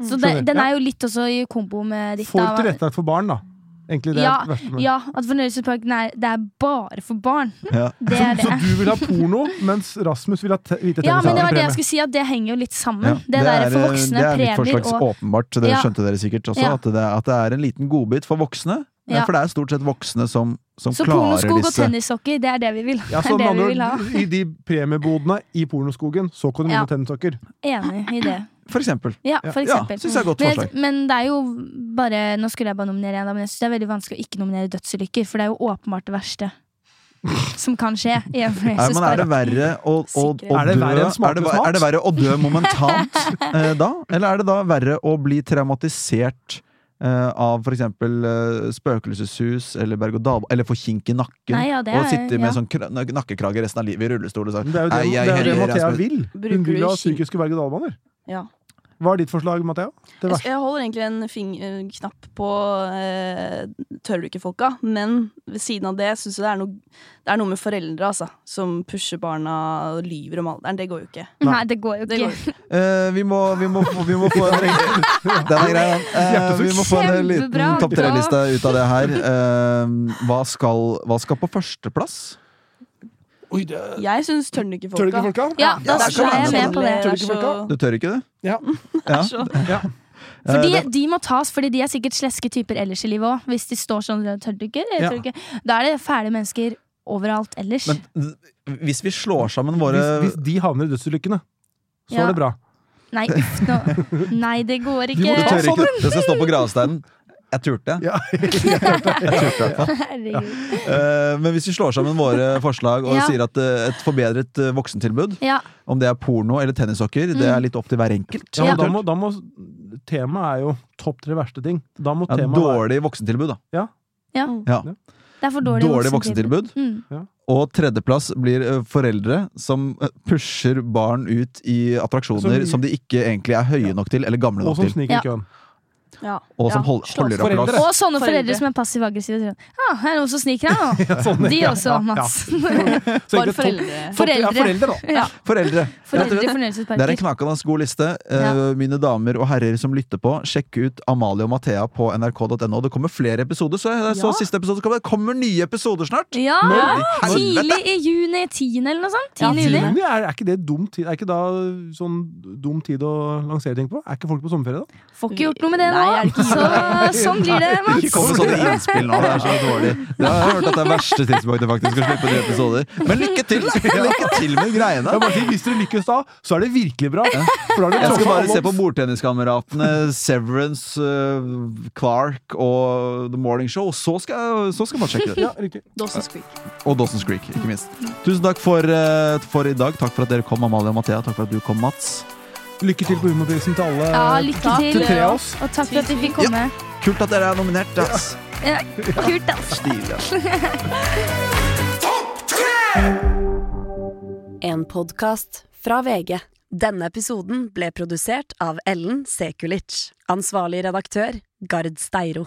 Så Mm. det, Skjønner. den Ja. er jo litt også i kombo med ditt. For da. tilrettelagt for barn, da. Egentlig det Ja, er det verste med Ja, at fornøyelsesparken er, det er bare for barn. Ja. Det er Så det. du vil ha porno, mens Rasmus vil ha te hvite Ja, men det var tennishatter i det jeg premie. skulle si, at det henger jo litt sammen. Ja, Det, der for voksne, det er mitt premier forslag og åpenbart. så Det Ja. skjønte dere sikkert også. Ja. At, det, at det er en liten godbit for voksne. Ja. For det er stort sett voksne som, som Så klarer pornoskog og disse. tennissokker, det er det vi vil. Ja, så det er med det vi vil andre ha. ord, I de premiebodene i pornoskogen, så kan du Ja. vinne tennissokker. Enig i det. For eksempel. Ja, for Ja, eksempel. syns jeg er et godt men, forslag. men det er jo bare Nå skulle jeg bare nominere en, da, men jeg syns det er veldig vanskelig å ikke nominere dødsulykker, for det er jo åpenbart det verste som kan skje. i en Er, men er det fornøyelsespark. verre å, å, å dø Sikkert. Er det verre enn er det, smakløs mat? er det verre å dø momentant eh, da? Eller er det da verre å bli traumatisert eh, av for eksempel eh, spøkelseshus eller berg-og-dal Eller få kink i nakken? Nei, ja, det og er- sitte med ja. sånn kra- nakkekrage resten av livet i rullestol og sånn. Men Det er jo det, Ei, ei, det, er jo det herre Mathea Rasmus. vil. Bruker Hun vil du ha kink- psykiske berg-og-dal-baner. Ja. Hva er ditt forslag, Mathea? Det Jeg, verste. jeg holder egentlig en fing- knapp på eh, tør du ikke-folka, men ved siden av det syns jeg det er, noe, det er noe med foreldre altså, som pusher barna og lyver om alderen. Det går jo ikke. Nei, det går jo Det ikke. går jo ikke. Eh, vi, må, vi, må, få- vi må få en Den er grei, den. Eh, vi må få en liten Kjempebra. topp tre-liste ut av det her. Eh, hva, skal, hva skal på førsteplass? Oi, det er- Jeg syns tør du Tør du ikke ikke-folka. folka? Ja, Ja, da det slår kan jeg være med på det. Tør du ikke folka? Du tør ikke det? Ja. Ja. Ja. For Eh, de, det- de må tas, fordi de er sikkert sleske typer ellers i livet òg. Hvis de står sånn tør du ikke? Jeg Ja. tror ikke. Da er det fæle mennesker overalt ellers. Men d- hvis vi slår sammen våre Hvis, hvis de havner i dødsulykkene, så Ja. er det bra. Nei, uff nå. Nei, det går De Du må ikke. tør ikke. Det skal stå på gravsteinen. Jeg turte. Ja. Jeg turte i hvert fall. Herregud. Eh, Men hvis vi slår sammen våre forslag og Ja. sier at eh, et forbedret eh, voksentilbud, Ja, om det er porno eller tennissokker, det er litt opp til hver enkelt. Ja, men Mm. Ja. da må, da må Temaet er jo topp tre verste ting. Da må Ja, temaet være dårlig voksentilbud, da. ja. Ja. Det er for dårlig, Dårlig voksentilbud. Mm. Og tredjeplass blir eh, foreldre som eh, pusher barn ut i attraksjoner Som- som de ikke egentlig er høye nok til eller gamle nok Altså, Og som til. sniker i Ja. køen. Ja. og som Ja. hold, Slå holder oss. opp lås. Foreldre. Og sånne Foreldre. foreldre som er passiv-aggressive. sier, Ah, her er det noen som sniker her nå. Sånn, De ja, også, ja, Mats. ja. Så Bare egentlig topp- foreldre. topp- ja, Foreldre. foreldre, da. Ja, Foreldre. foreldre i Det er en fornøyelsesparker. knakende god liste. Eh, Mine damer og herrer som lytter på, sjekk ut Amalie og Mathea på nrk.no. Det kommer flere episoder. Så jeg så Ja. siste episode, så kommer det kommer nye episoder snart! Ja! Nå, i helvete! Tidlig i juni. 10. eller noe sånt. 10. juni. Juni, er, er ikke det dum tid? Er ikke da sånn dum tid å lansere ting på? Er ikke folk på sommerferie da? Får ikke gjort noe med det nå. Nei, jeg er ikke Så sånn blir det, Ikke kom med Mats. sånne innspill nå, det er så dårlig. Det har jeg hørt at det er verste tidspunktet faktisk å slippe nye episoder. Men lykke til! Lykke til med greiene! Jeg bare sier, Hvis dere lykkes da, så er det virkelig bra. For da er det Jeg skal tråkket bare alle se på opp. bordtenniskameratene, Severance, eh, Clark og The Morning Show, og så skal, så skal man sjekke det. Ja, riktig. Dawson's Creek. Og Dawson's Creek, ikke minst. Tusen takk for, eh, for i dag. Takk for at dere kom, Amalie og Mathea. Takk for at du kom, Mats. Lykke til på humorprisen til alle. Ja, lykke til. til tre av oss. Og takk for at vi fikk komme. Kult at dere er nominert. Ass. Ja, Kult, altså. Stilig. ass. En podkast fra VG. Denne episoden ble produsert av Ellen Sekulic. Ansvarlig redaktør, Gard Steiro.